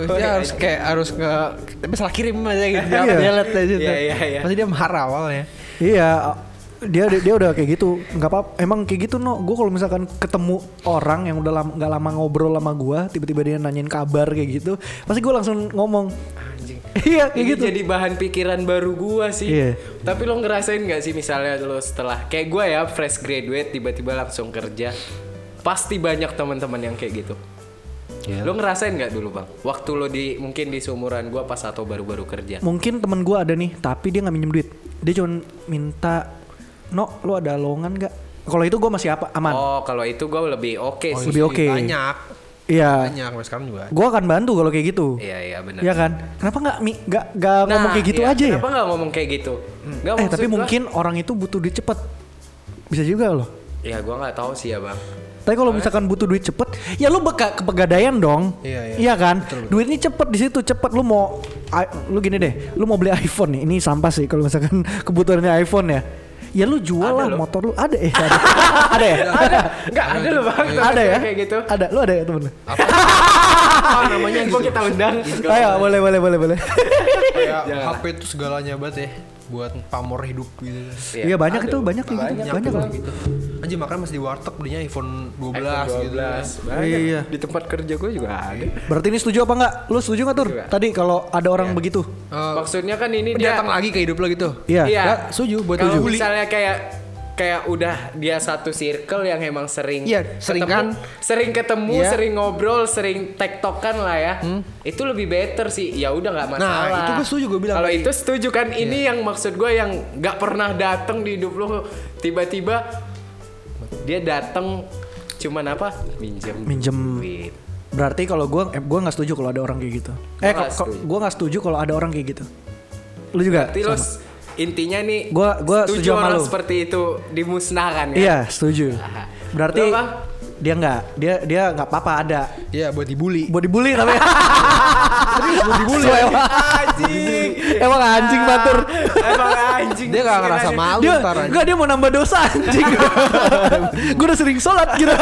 Speaker 2: dia harus kayak harus ke tapi salah kirim aja gitu. Dia
Speaker 1: Iya.
Speaker 2: delete aja gitu.
Speaker 3: Iya, iya, iya.
Speaker 2: Pasti dia marah awalnya.
Speaker 1: Iya, dia dia udah kayak gitu. Nggak apa, emang kayak gitu no. Gue kalau misalkan ketemu orang yang udah lama, nggak lama ngobrol sama gue, tiba-tiba dia nanyain kabar kayak gitu, pasti gue langsung ngomong. Iya kayak
Speaker 3: Ini
Speaker 1: gitu.
Speaker 3: jadi bahan pikiran baru gua sih.
Speaker 1: Iya.
Speaker 3: Tapi lo ngerasain gak sih misalnya lo setelah kayak gua ya fresh graduate tiba-tiba langsung kerja, pasti banyak teman-teman yang kayak gitu.
Speaker 1: Iya.
Speaker 3: Lo ngerasain gak dulu bang? Waktu lo di mungkin di seumuran gua pas atau baru-baru kerja.
Speaker 1: Mungkin temen gue ada nih, tapi dia nggak minjem duit. Dia cuma minta, no, lu ada lowongan nggak? Kalau itu gue masih apa aman.
Speaker 3: Oh kalau itu gua lebih oke
Speaker 1: Oh,
Speaker 3: sih.
Speaker 1: lebih oke.
Speaker 2: Banyak.
Speaker 1: Iya,
Speaker 2: Banyak sampai sekarang juga.
Speaker 1: gue akan bantu kalau kayak gitu.
Speaker 3: Iya iya benar.
Speaker 1: Iya kan? Kenapa nggak mi nggak nggak
Speaker 3: Nah,
Speaker 1: ngomong kayak gitu
Speaker 3: iya,
Speaker 1: aja
Speaker 3: Kenapa nggak ngomong kayak gitu? Nggak,
Speaker 1: ya? Eh
Speaker 3: maksud
Speaker 1: tapi
Speaker 3: gua-
Speaker 1: mungkin orang itu butuh duit cepet. Bisa juga loh.
Speaker 3: Ya gua nggak tahu sih ya bang.
Speaker 1: Tapi kalau misalkan butuh duit cepet, ya lu beka ke pegadaian dong.
Speaker 2: Iya, iya.
Speaker 1: kan? Duitnya cepet di situ, cepet lu mau i- lu gini deh, lu mau beli iPhone nih. Ini sampah sih kalau misalkan kebutuhannya iPhone ya. Ya lu jual lah motor lu ada eh ada. ada ya? Ada.
Speaker 3: Nggak ada loh bang.
Speaker 1: Ada ya?
Speaker 3: Kayak gitu.
Speaker 1: Ada. Lu ada ya temen lu? Ah,
Speaker 3: Oh,
Speaker 1: iya.
Speaker 3: namanya gua kita undang.
Speaker 1: Ayo, boleh boleh boleh boleh.
Speaker 2: Kayak HP itu segalanya banget ya buat pamor hidup gitu.
Speaker 3: Iya.
Speaker 1: Iya banyak itu, banyak kayak gitu.
Speaker 2: Banyak,
Speaker 1: Banyak
Speaker 2: tuh
Speaker 1: loh.
Speaker 2: gitu. Anjir makanya masih di warteg belinya iPhone 12, gitu.
Speaker 3: Banyak.
Speaker 1: Iya.
Speaker 3: Di tempat kerja gue juga ada.
Speaker 1: Berarti ini setuju apa enggak? Lu setuju enggak Tur?
Speaker 3: Iya.
Speaker 1: Tadi kalau ada orang begitu.
Speaker 2: Eh,
Speaker 3: Maksudnya kan ini dia
Speaker 2: datang lagi ke hidup lo gitu.
Speaker 1: Iya.
Speaker 3: Iya.
Speaker 2: Ya, setuju, buat
Speaker 3: Kalau
Speaker 2: setuju.
Speaker 3: misalnya kayak kayak udah dia satu circle yang emang sering
Speaker 2: Iya, sering
Speaker 3: ketemu- sering ketemu
Speaker 2: Iya. Hmm.
Speaker 3: sering ngobrol sering tektokan lah ya itu lebih better sih ya udah nggak masalah
Speaker 2: Nah, itu gue setuju, gue bilang
Speaker 3: kalau
Speaker 2: tadi. Iya.
Speaker 3: itu setuju kan ini yang maksud gue yang nggak pernah datang di hidup lo tiba-tiba dia datang cuman apa minjem
Speaker 1: Minjem.
Speaker 3: duit.
Speaker 1: Berarti kalau gua eh, gua nggak setuju kalau ada orang kayak gitu. eh kok-
Speaker 3: nggak
Speaker 1: kok-
Speaker 3: setuju.
Speaker 1: gua nggak setuju kalau ada orang kayak gitu. Lu juga?
Speaker 3: Berarti lo
Speaker 1: Sama.
Speaker 3: s- intinya nih
Speaker 1: Gua- gua setuju sama
Speaker 3: orang
Speaker 1: lo.
Speaker 3: seperti itu dimusnahkan ya
Speaker 1: Iya, setuju. Berarti
Speaker 3: Lu, Bang?
Speaker 1: dia nggak dia dia nggak apa-apa ada.
Speaker 2: Iya, buat dibully.
Speaker 1: Buat dibully tapi buat dibully. emang,
Speaker 3: anjing
Speaker 1: emang anjing batur.
Speaker 3: Emang anjing.
Speaker 2: Dia gak ngerasa malu
Speaker 1: Dia
Speaker 2: ntar aja.
Speaker 1: enggak dia mau nambah dosa anjing. gua udah sering sholat gitu.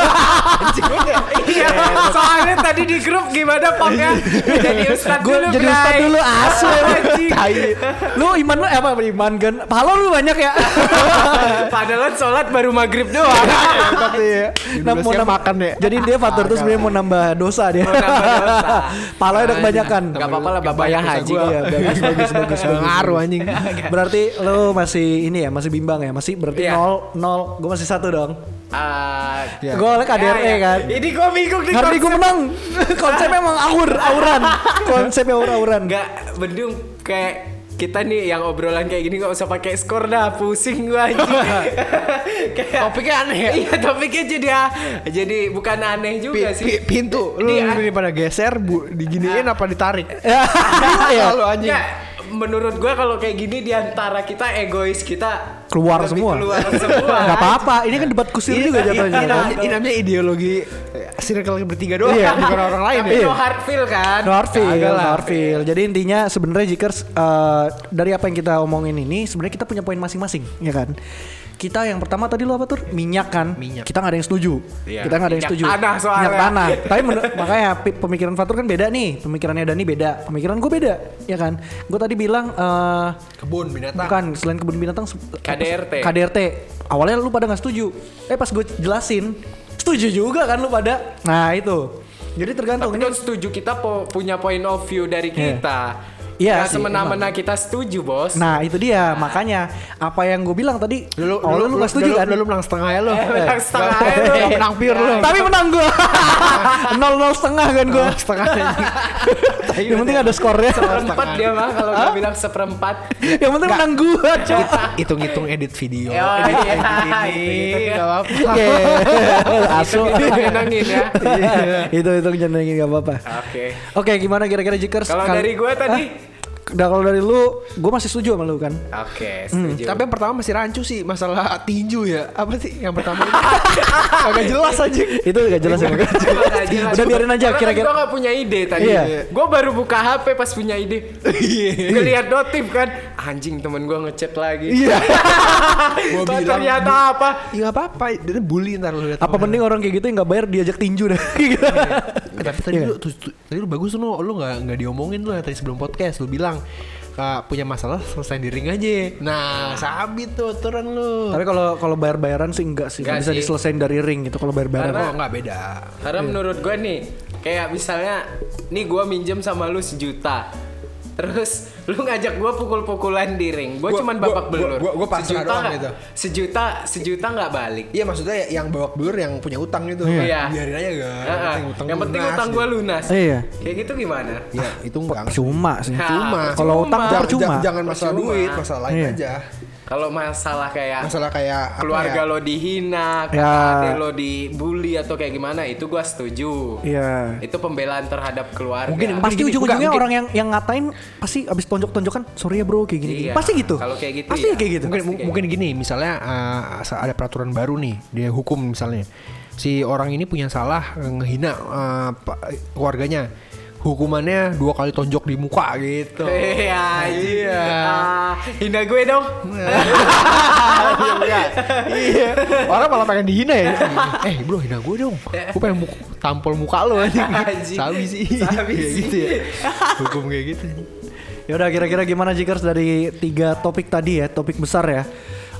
Speaker 3: Iya. Soalnya tadi di grup gimana paknya jadi ustad
Speaker 1: Gue
Speaker 3: dulu.
Speaker 1: jadi
Speaker 3: Bray.
Speaker 1: ustad dulu asu emang.
Speaker 3: Anjing.
Speaker 1: Tai. Lu iman lu apa iman kan? Pahala lu banyak ya.
Speaker 3: Padahal sholat baru maghrib doang.
Speaker 1: Tapi ya. Nah, mau
Speaker 2: siang
Speaker 1: nambah-
Speaker 2: makan ya.
Speaker 1: Jadi dia fatur terus dia mau nambah dosa dia.
Speaker 3: Mau nambah dosa. Nah, iya.
Speaker 1: Pahalanya udah kebanyakan.
Speaker 3: Gak apa-apa lah bapak
Speaker 2: Banyak
Speaker 3: yang
Speaker 2: dosa
Speaker 3: haji.
Speaker 2: gua.
Speaker 1: Iya, bagus bagus bagus. bagus.
Speaker 2: Ngaruh anjing.
Speaker 1: Berarti lu masih ini ya, masih bimbang ya, masih berarti
Speaker 3: Iya.
Speaker 1: nol nol. Gue masih satu dong.
Speaker 3: Ah,
Speaker 1: Gue oleh
Speaker 2: E
Speaker 1: KDRE
Speaker 3: ya, ya.
Speaker 1: kan.
Speaker 3: Ini gue bingung nih.
Speaker 1: Ngerti gue menang. Konsepnya emang aur auran. Konsepnya aur auran.
Speaker 3: Gak bendung kayak Kita nih yang obrolan kayak gini nggak usah pakai skor dah, pusing gua aja.
Speaker 2: Topiknya aneh ya?
Speaker 3: Iya, topiknya jadi jadi bukan aneh juga
Speaker 2: Pi-
Speaker 3: sih.
Speaker 2: pi- pintu lu
Speaker 3: Dia-
Speaker 2: ini pada geser bu diginiin apa ditarik
Speaker 1: Iya.
Speaker 2: Selalu anjing
Speaker 3: Nggak, menurut gua kalau kayak gini diantara kita egois kita
Speaker 1: keluar
Speaker 3: lebih
Speaker 1: semua.
Speaker 3: Keluar semua. Iya,
Speaker 1: Gak apa-apa. Ini kan debat kusir juga jatuhnya.
Speaker 2: Ini
Speaker 1: kan?
Speaker 2: namanya- ini namanya ideologi eh, circle yang bertiga doang
Speaker 1: Iya.
Speaker 2: bukan orang lain
Speaker 3: Tapi
Speaker 2: ya
Speaker 3: no hard feel kan?
Speaker 1: No hard feel,
Speaker 3: Kagak
Speaker 1: no
Speaker 3: lah.
Speaker 1: hard feel. Jadi intinya sebenarnya Jikers eh, dari apa yang kita omongin ini sebenarnya kita punya poin masing-masing, ya kan? Kita yang pertama tadi lu apa tuh? Minyak kan?
Speaker 2: Minyak.
Speaker 1: Kita nggak ada yang setuju.
Speaker 3: Iya.
Speaker 1: Kita nggak ada yang
Speaker 3: Minyak
Speaker 1: setuju.
Speaker 3: tanah soalnya.
Speaker 1: Minyak tanah. Tapi menur- makanya pi- pemikiran Fatur kan beda nih. Pemikirannya Dani beda. Pemikiran gue beda, ya kan? Gue tadi bilang eh,
Speaker 3: Nah.
Speaker 2: kebun binatang
Speaker 1: bukan selain kebun binatang se-
Speaker 3: KDRT.
Speaker 1: KDRT. Awalnya lu pada nggak setuju. Eh pas gue jelasin, setuju juga kan lu pada. Nah, itu. Jadi tergantung
Speaker 3: Tapi
Speaker 1: ini
Speaker 3: kan setuju kita po- punya point of view dari
Speaker 1: Iya.
Speaker 3: kita.
Speaker 1: Iya
Speaker 3: Nggak
Speaker 1: sih,
Speaker 3: semena-mena kita setuju, Bos.
Speaker 1: Nah itu dia makanya apa yang gue bilang tadi
Speaker 2: Dulu,
Speaker 1: awalnya lu nggak setuju kan?
Speaker 2: Lu menang setengah ya lu.
Speaker 3: Eh, menang setengah ya lu.
Speaker 2: Nggak menang pure lu.
Speaker 1: Tapi menang gue nol nol setengah kan gue.
Speaker 2: setengah anjing.
Speaker 1: yang penting ada skornya.
Speaker 3: seperempat dia mah kalau gue bilang seperempat.
Speaker 1: yang penting menang gue.
Speaker 2: Hit- Hitung-hitung edit video.
Speaker 3: Ya,
Speaker 2: Edit-
Speaker 3: iya,
Speaker 2: edit ini,
Speaker 3: iya.
Speaker 2: Tapi nggak apa-apa.
Speaker 1: Oke.
Speaker 3: Itu
Speaker 1: Asu. Iya.
Speaker 3: nyenengin ya.
Speaker 1: Itu itu jenengin gak apa-apa.
Speaker 3: Oke.
Speaker 1: Oke gimana kira-kira Jikers?
Speaker 3: Kalau
Speaker 1: Kal-
Speaker 3: dari gue tadi.
Speaker 1: Udah kalau dari lu, gue masih setuju sama lu kan?
Speaker 3: Oke, setuju.
Speaker 2: Tapi yang pertama masih rancu sih masalah tinju ya. Apa sih yang pertama itu? Agak jelas aja.
Speaker 1: Itu gak jelas ya. Udah biarin aja
Speaker 3: Gue
Speaker 1: kira-kira.
Speaker 3: gak kan punya ide tadi
Speaker 1: Iya.
Speaker 3: Gue baru buka HP pas punya ide Gue liat notif kan Anjing temen gue ngechat lagi
Speaker 2: Iya.
Speaker 3: Gua
Speaker 2: Gua bilang,
Speaker 3: ternyata apa
Speaker 2: Iya nggak apa-apa. Dia bully ntar lu lihat.
Speaker 1: Apa mending orang kayak gitu yang gak bayar diajak tinju dah. Kayak gitu.
Speaker 2: Eh, tapi
Speaker 3: Iya.
Speaker 2: tadi lu tu- tu- tadi lu bagus lu lu nggak nggak diomongin lu yang tadi sebelum podcast lu bilang "Kak, punya masalah selesai di ring aja. Nah, sabit tuh aturan lu.
Speaker 1: Tapi kalau kalau bayar-bayaran sih enggak sih. Enggak
Speaker 3: Enggak
Speaker 1: bisa
Speaker 3: sih.
Speaker 1: diselesain dari ring gitu kalau bayar-bayaran.
Speaker 3: Karena-
Speaker 2: Oh, nggak beda.
Speaker 3: Karena menurut gue nih, kayak misalnya, nih gue minjem sama lu sejuta, terus lu ngajak gue pukul-pukulan di ring, gue
Speaker 2: Gua-
Speaker 3: cuman
Speaker 2: gua-
Speaker 3: babak
Speaker 2: gua-
Speaker 3: belur.
Speaker 2: gua- gua pasrah
Speaker 3: sejuta
Speaker 2: doang
Speaker 3: nggak-
Speaker 2: gitu.
Speaker 3: Sejuta, sejuta nggak balik.
Speaker 2: Iya maksudnya yang bawa belur yang punya utang gitu.
Speaker 3: Iya.
Speaker 2: Biarin aja gak.
Speaker 3: Heeh. Yang penting utang gue lunas.
Speaker 1: Iya.
Speaker 3: Kayak gitu gimana?
Speaker 2: Ya gitu. itu enggak.
Speaker 1: Cuma sih.
Speaker 3: Nah,
Speaker 2: Cuma.
Speaker 1: Kalau utang
Speaker 2: Jangan-
Speaker 1: percuma.
Speaker 2: jangan- Jangan masalah
Speaker 3: Percuma.
Speaker 2: duit, masalah lain
Speaker 1: Iya.
Speaker 2: aja.
Speaker 3: Kalau masalah kayak
Speaker 2: Masalah kayak apa
Speaker 3: keluarga
Speaker 2: ya?
Speaker 3: lo dihina,
Speaker 1: Ya.
Speaker 3: kakak adik lo dibully atau kayak gimana, itu gue setuju.
Speaker 1: Iya.
Speaker 3: Itu pembelaan terhadap keluarga.
Speaker 2: Mungkin-
Speaker 1: Pasti
Speaker 2: Gini,
Speaker 1: ujung-ujungnya
Speaker 2: enggak, mungkin-
Speaker 1: orang yang yang ngatain pasti abis tonjok-tonjokan, sorry ya bro kayak gini.
Speaker 3: Iya.
Speaker 1: Pasti gitu.
Speaker 3: Kalau kayak gitu
Speaker 1: Pasti
Speaker 3: ya.
Speaker 1: kayak gitu.
Speaker 2: Mungkin
Speaker 3: Pasti kayak
Speaker 2: mungkin gini, misalnya uh, sa- ada peraturan baru nih di hukum misalnya. Si orang ini punya salah eh, ngehina uh, pa- keluarganya. Hukumannya dua kali tonjok di muka gitu.
Speaker 3: Iya, iya. Hina gue dong.
Speaker 2: Iya, enggak. Iya. Orang malah pengen dihina ya. eh, bro hina gue dong. Gue pengen muk- tampol muka lo anjing.
Speaker 3: Anjing.
Speaker 2: Sabi sih.
Speaker 3: Sabi
Speaker 2: Kayak
Speaker 3: sih.
Speaker 2: gitu ya. Hukum kayak gitu.
Speaker 1: Ya udah kira-kira gimana Jikers dari tiga topik tadi ya, topik besar ya.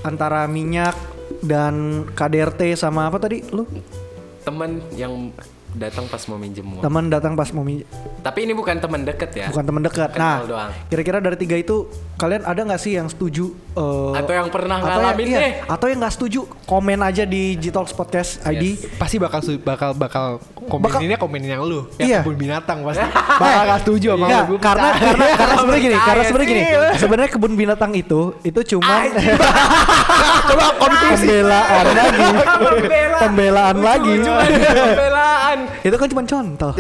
Speaker 1: Antara minyak dan KDRT sama apa tadi lu?
Speaker 3: teman yang datang pas mau minjem uang.
Speaker 1: Teman datang pas mau min-
Speaker 3: Tapi ini bukan teman deket ya.
Speaker 1: bukan teman dekat.
Speaker 3: Kenal
Speaker 1: Nah,
Speaker 3: doang.
Speaker 1: kira-kira dari tiga itu kalian ada nggak sih yang setuju eh,
Speaker 3: Atau yang pernah
Speaker 1: atau yang,
Speaker 3: ngalamin
Speaker 1: iya,
Speaker 3: deh.
Speaker 1: atau yang nggak setuju komen aja di Gtalks Podcast ID.
Speaker 2: Pasti bakal su- bakal bakal komeninnya komenin yang lu, yang
Speaker 1: Iya.
Speaker 2: kebun binatang pasti. bakal gak setuju sama
Speaker 1: Nggak,
Speaker 2: lu. Gua
Speaker 1: Iya, karena
Speaker 2: percaya.
Speaker 1: karena karena sebenarnya gini,
Speaker 3: Percaya
Speaker 1: karena sebenarnya gini.
Speaker 3: sih.
Speaker 1: Sebenarnya kebun binatang itu itu cuma
Speaker 2: coba konklusi.
Speaker 1: pembelaan lagi.
Speaker 3: Pembela-
Speaker 1: Pembelaan lagi.
Speaker 3: Ujung-ujungnya ada pembelaan.
Speaker 1: Itu kan cuma contoh.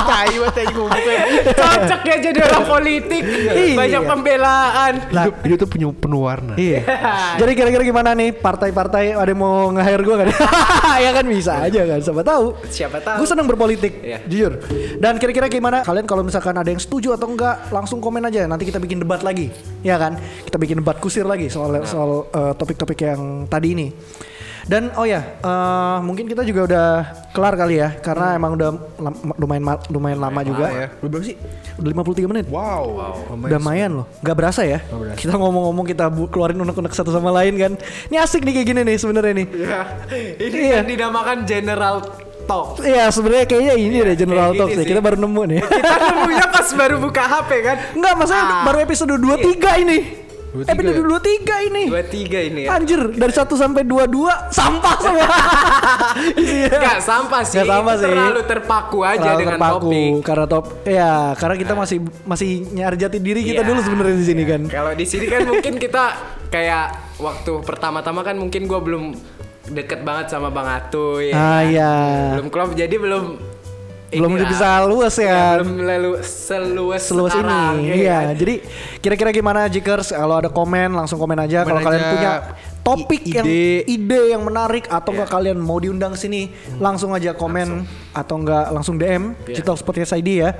Speaker 2: Tai banget yang gua buka.
Speaker 3: Cocok dia jadi orang politik. Banyak
Speaker 1: Iya.
Speaker 3: pembelaan.
Speaker 1: Lah.
Speaker 2: Hidup, hidup tuh punya penuh warna.
Speaker 1: Iya. Jadi kira-kira gimana nih partai-partai ada yang mau nge-hire gue kan? ya kan bisa aja kan, siapa tahu.
Speaker 3: Siapa tahu.
Speaker 1: Gue seneng berpolitik,
Speaker 3: Iya.
Speaker 1: jujur. Dan kira-kira gimana kalian kalau misalkan ada yang setuju atau enggak langsung komen aja. Nanti kita bikin debat lagi, ya kan? Kita bikin debat kusir lagi soal soal eh, topik-topik yang tadi ini. Dan oh ya, eh, mungkin kita juga udah kelar kali ya, karena emang udah lam- lumayan ma- lumayan lama juga.
Speaker 2: Ya, lu berapa sih?
Speaker 1: Udah 53 menit.
Speaker 2: Wow.
Speaker 1: Udah lumayan loh, nggak berasa ya? Kita ngomong-ngomong kita bu- keluarin unek-unek satu sama lain kan. Ini asik nih kayak gini nih sebenarnya nih.
Speaker 3: Ini kan
Speaker 1: Iya.
Speaker 3: yang dinamakan general talk.
Speaker 1: Iya sebenarnya kayaknya ini deh General
Speaker 3: kayak
Speaker 1: Talks
Speaker 3: gini
Speaker 1: deh. Kita
Speaker 3: sih.
Speaker 1: baru nemu nih.
Speaker 3: Kita nemunya pas baru buka HP kan.
Speaker 1: Enggak masalah
Speaker 3: Ah.
Speaker 1: baru episode 23 ini.
Speaker 2: Dua,
Speaker 1: Eh
Speaker 2: tiga
Speaker 1: beda
Speaker 2: ya?
Speaker 1: dua tiga ini.
Speaker 3: dua tiga ini ya
Speaker 1: Anjir, dari satu sampai dua dua sampah semua. Iya.
Speaker 3: Gak sampah sih,
Speaker 1: Nggak sampah
Speaker 3: itu
Speaker 1: sih.
Speaker 3: terlalu terpaku aja
Speaker 1: Terlalu
Speaker 3: dengan
Speaker 1: terpaku,
Speaker 3: topik.
Speaker 1: karena top ya karena kita masih masih nyari jati diri kita
Speaker 3: Iya,
Speaker 1: dulu sebenarnya di sini
Speaker 3: iya.
Speaker 1: kan.
Speaker 3: Kalau di sini kan mungkin kita kayak waktu pertama-tama kan mungkin gue belum deket banget sama Bang Atu ya.
Speaker 1: Ah iya.
Speaker 3: Belum klop jadi belum
Speaker 1: Belum
Speaker 3: inilah.
Speaker 1: bisa luas ya.
Speaker 3: Ya, belum lelu, seluas,
Speaker 1: seluas
Speaker 3: sekarang,
Speaker 1: ini.
Speaker 3: ya
Speaker 1: Iya,
Speaker 3: kan?
Speaker 1: jadi kira-kira gimana Jikers kalau ada komen langsung komen aja kalau
Speaker 2: Komen
Speaker 1: kalian
Speaker 2: aja.
Speaker 1: punya topik
Speaker 2: I-
Speaker 1: yang
Speaker 2: ide.
Speaker 1: ide yang menarik atau enggak kalian mau diundang sini langsung aja komen atau enggak langsung DM Citalk Podcast ID ya.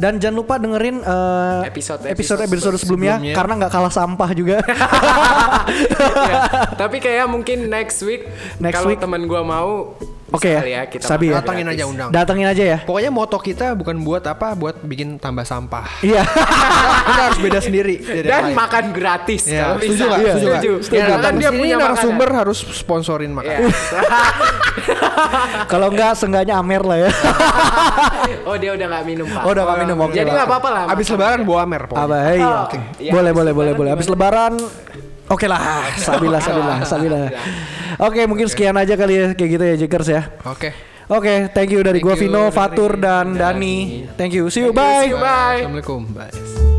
Speaker 1: Dan jangan lupa dengerin eh, episode
Speaker 3: Episode- episode
Speaker 1: episode sebelumnya,
Speaker 2: sebelumnya.
Speaker 1: karena nggak kalah sampah juga.
Speaker 3: Iya. Tapi kayak mungkin next week
Speaker 1: Next
Speaker 3: kalau
Speaker 1: week.
Speaker 3: teman gue mau
Speaker 1: Oke
Speaker 3: bisa
Speaker 1: ya,
Speaker 3: kali kita
Speaker 1: Sabi ya.
Speaker 3: makan
Speaker 2: Datangin
Speaker 3: gratis.
Speaker 2: aja undang.
Speaker 1: Datengin aja ya.
Speaker 2: Pokoknya moto kita bukan buat apa, buat bikin tambah sampah.
Speaker 1: Iya.
Speaker 2: kita harus beda sendiri. dari
Speaker 3: Dan
Speaker 2: yang lain.
Speaker 3: makan gratis
Speaker 2: Ya,
Speaker 3: kalau
Speaker 2: setuju
Speaker 3: bisa.
Speaker 2: nggak?
Speaker 1: Iya.
Speaker 2: Setuju. nggak?
Speaker 3: Setuju.
Speaker 1: Setuju.
Speaker 2: Ya,
Speaker 1: Yang
Speaker 2: kan
Speaker 1: datang
Speaker 2: dia
Speaker 3: sini
Speaker 2: punya
Speaker 3: makanan.
Speaker 2: narasumber harus sponsorin
Speaker 3: Iya.
Speaker 2: makan.
Speaker 1: kalau enggak seenggaknya Amer lah ya.
Speaker 3: oh dia udah nggak minum pak.
Speaker 1: Oh, udah nggak minum, oke,
Speaker 3: Jadi
Speaker 1: Pak.
Speaker 3: nggak apa-apa lah.
Speaker 2: Abis lebaran bawa amer pokoknya.
Speaker 1: Apa? Hey,
Speaker 3: Oh,
Speaker 1: oke.
Speaker 3: iya,
Speaker 1: boleh,
Speaker 3: habis
Speaker 1: boleh, boleh,
Speaker 3: lebaran
Speaker 1: boleh. Habis lebaran Oke lah, sabilah, sabilah, sabilah. Iya. Oke, mungkin sekian aja kali ya, kayak gitu ya, Jekers ya.
Speaker 2: Oke.
Speaker 1: Oke, thank you dari
Speaker 2: Thank
Speaker 1: gua
Speaker 2: you
Speaker 1: Vino,
Speaker 2: dari
Speaker 1: Fatur dan Dani. Thank you, see you, bye.
Speaker 3: Bye.
Speaker 2: Iya, Assalamualaikum. Bye.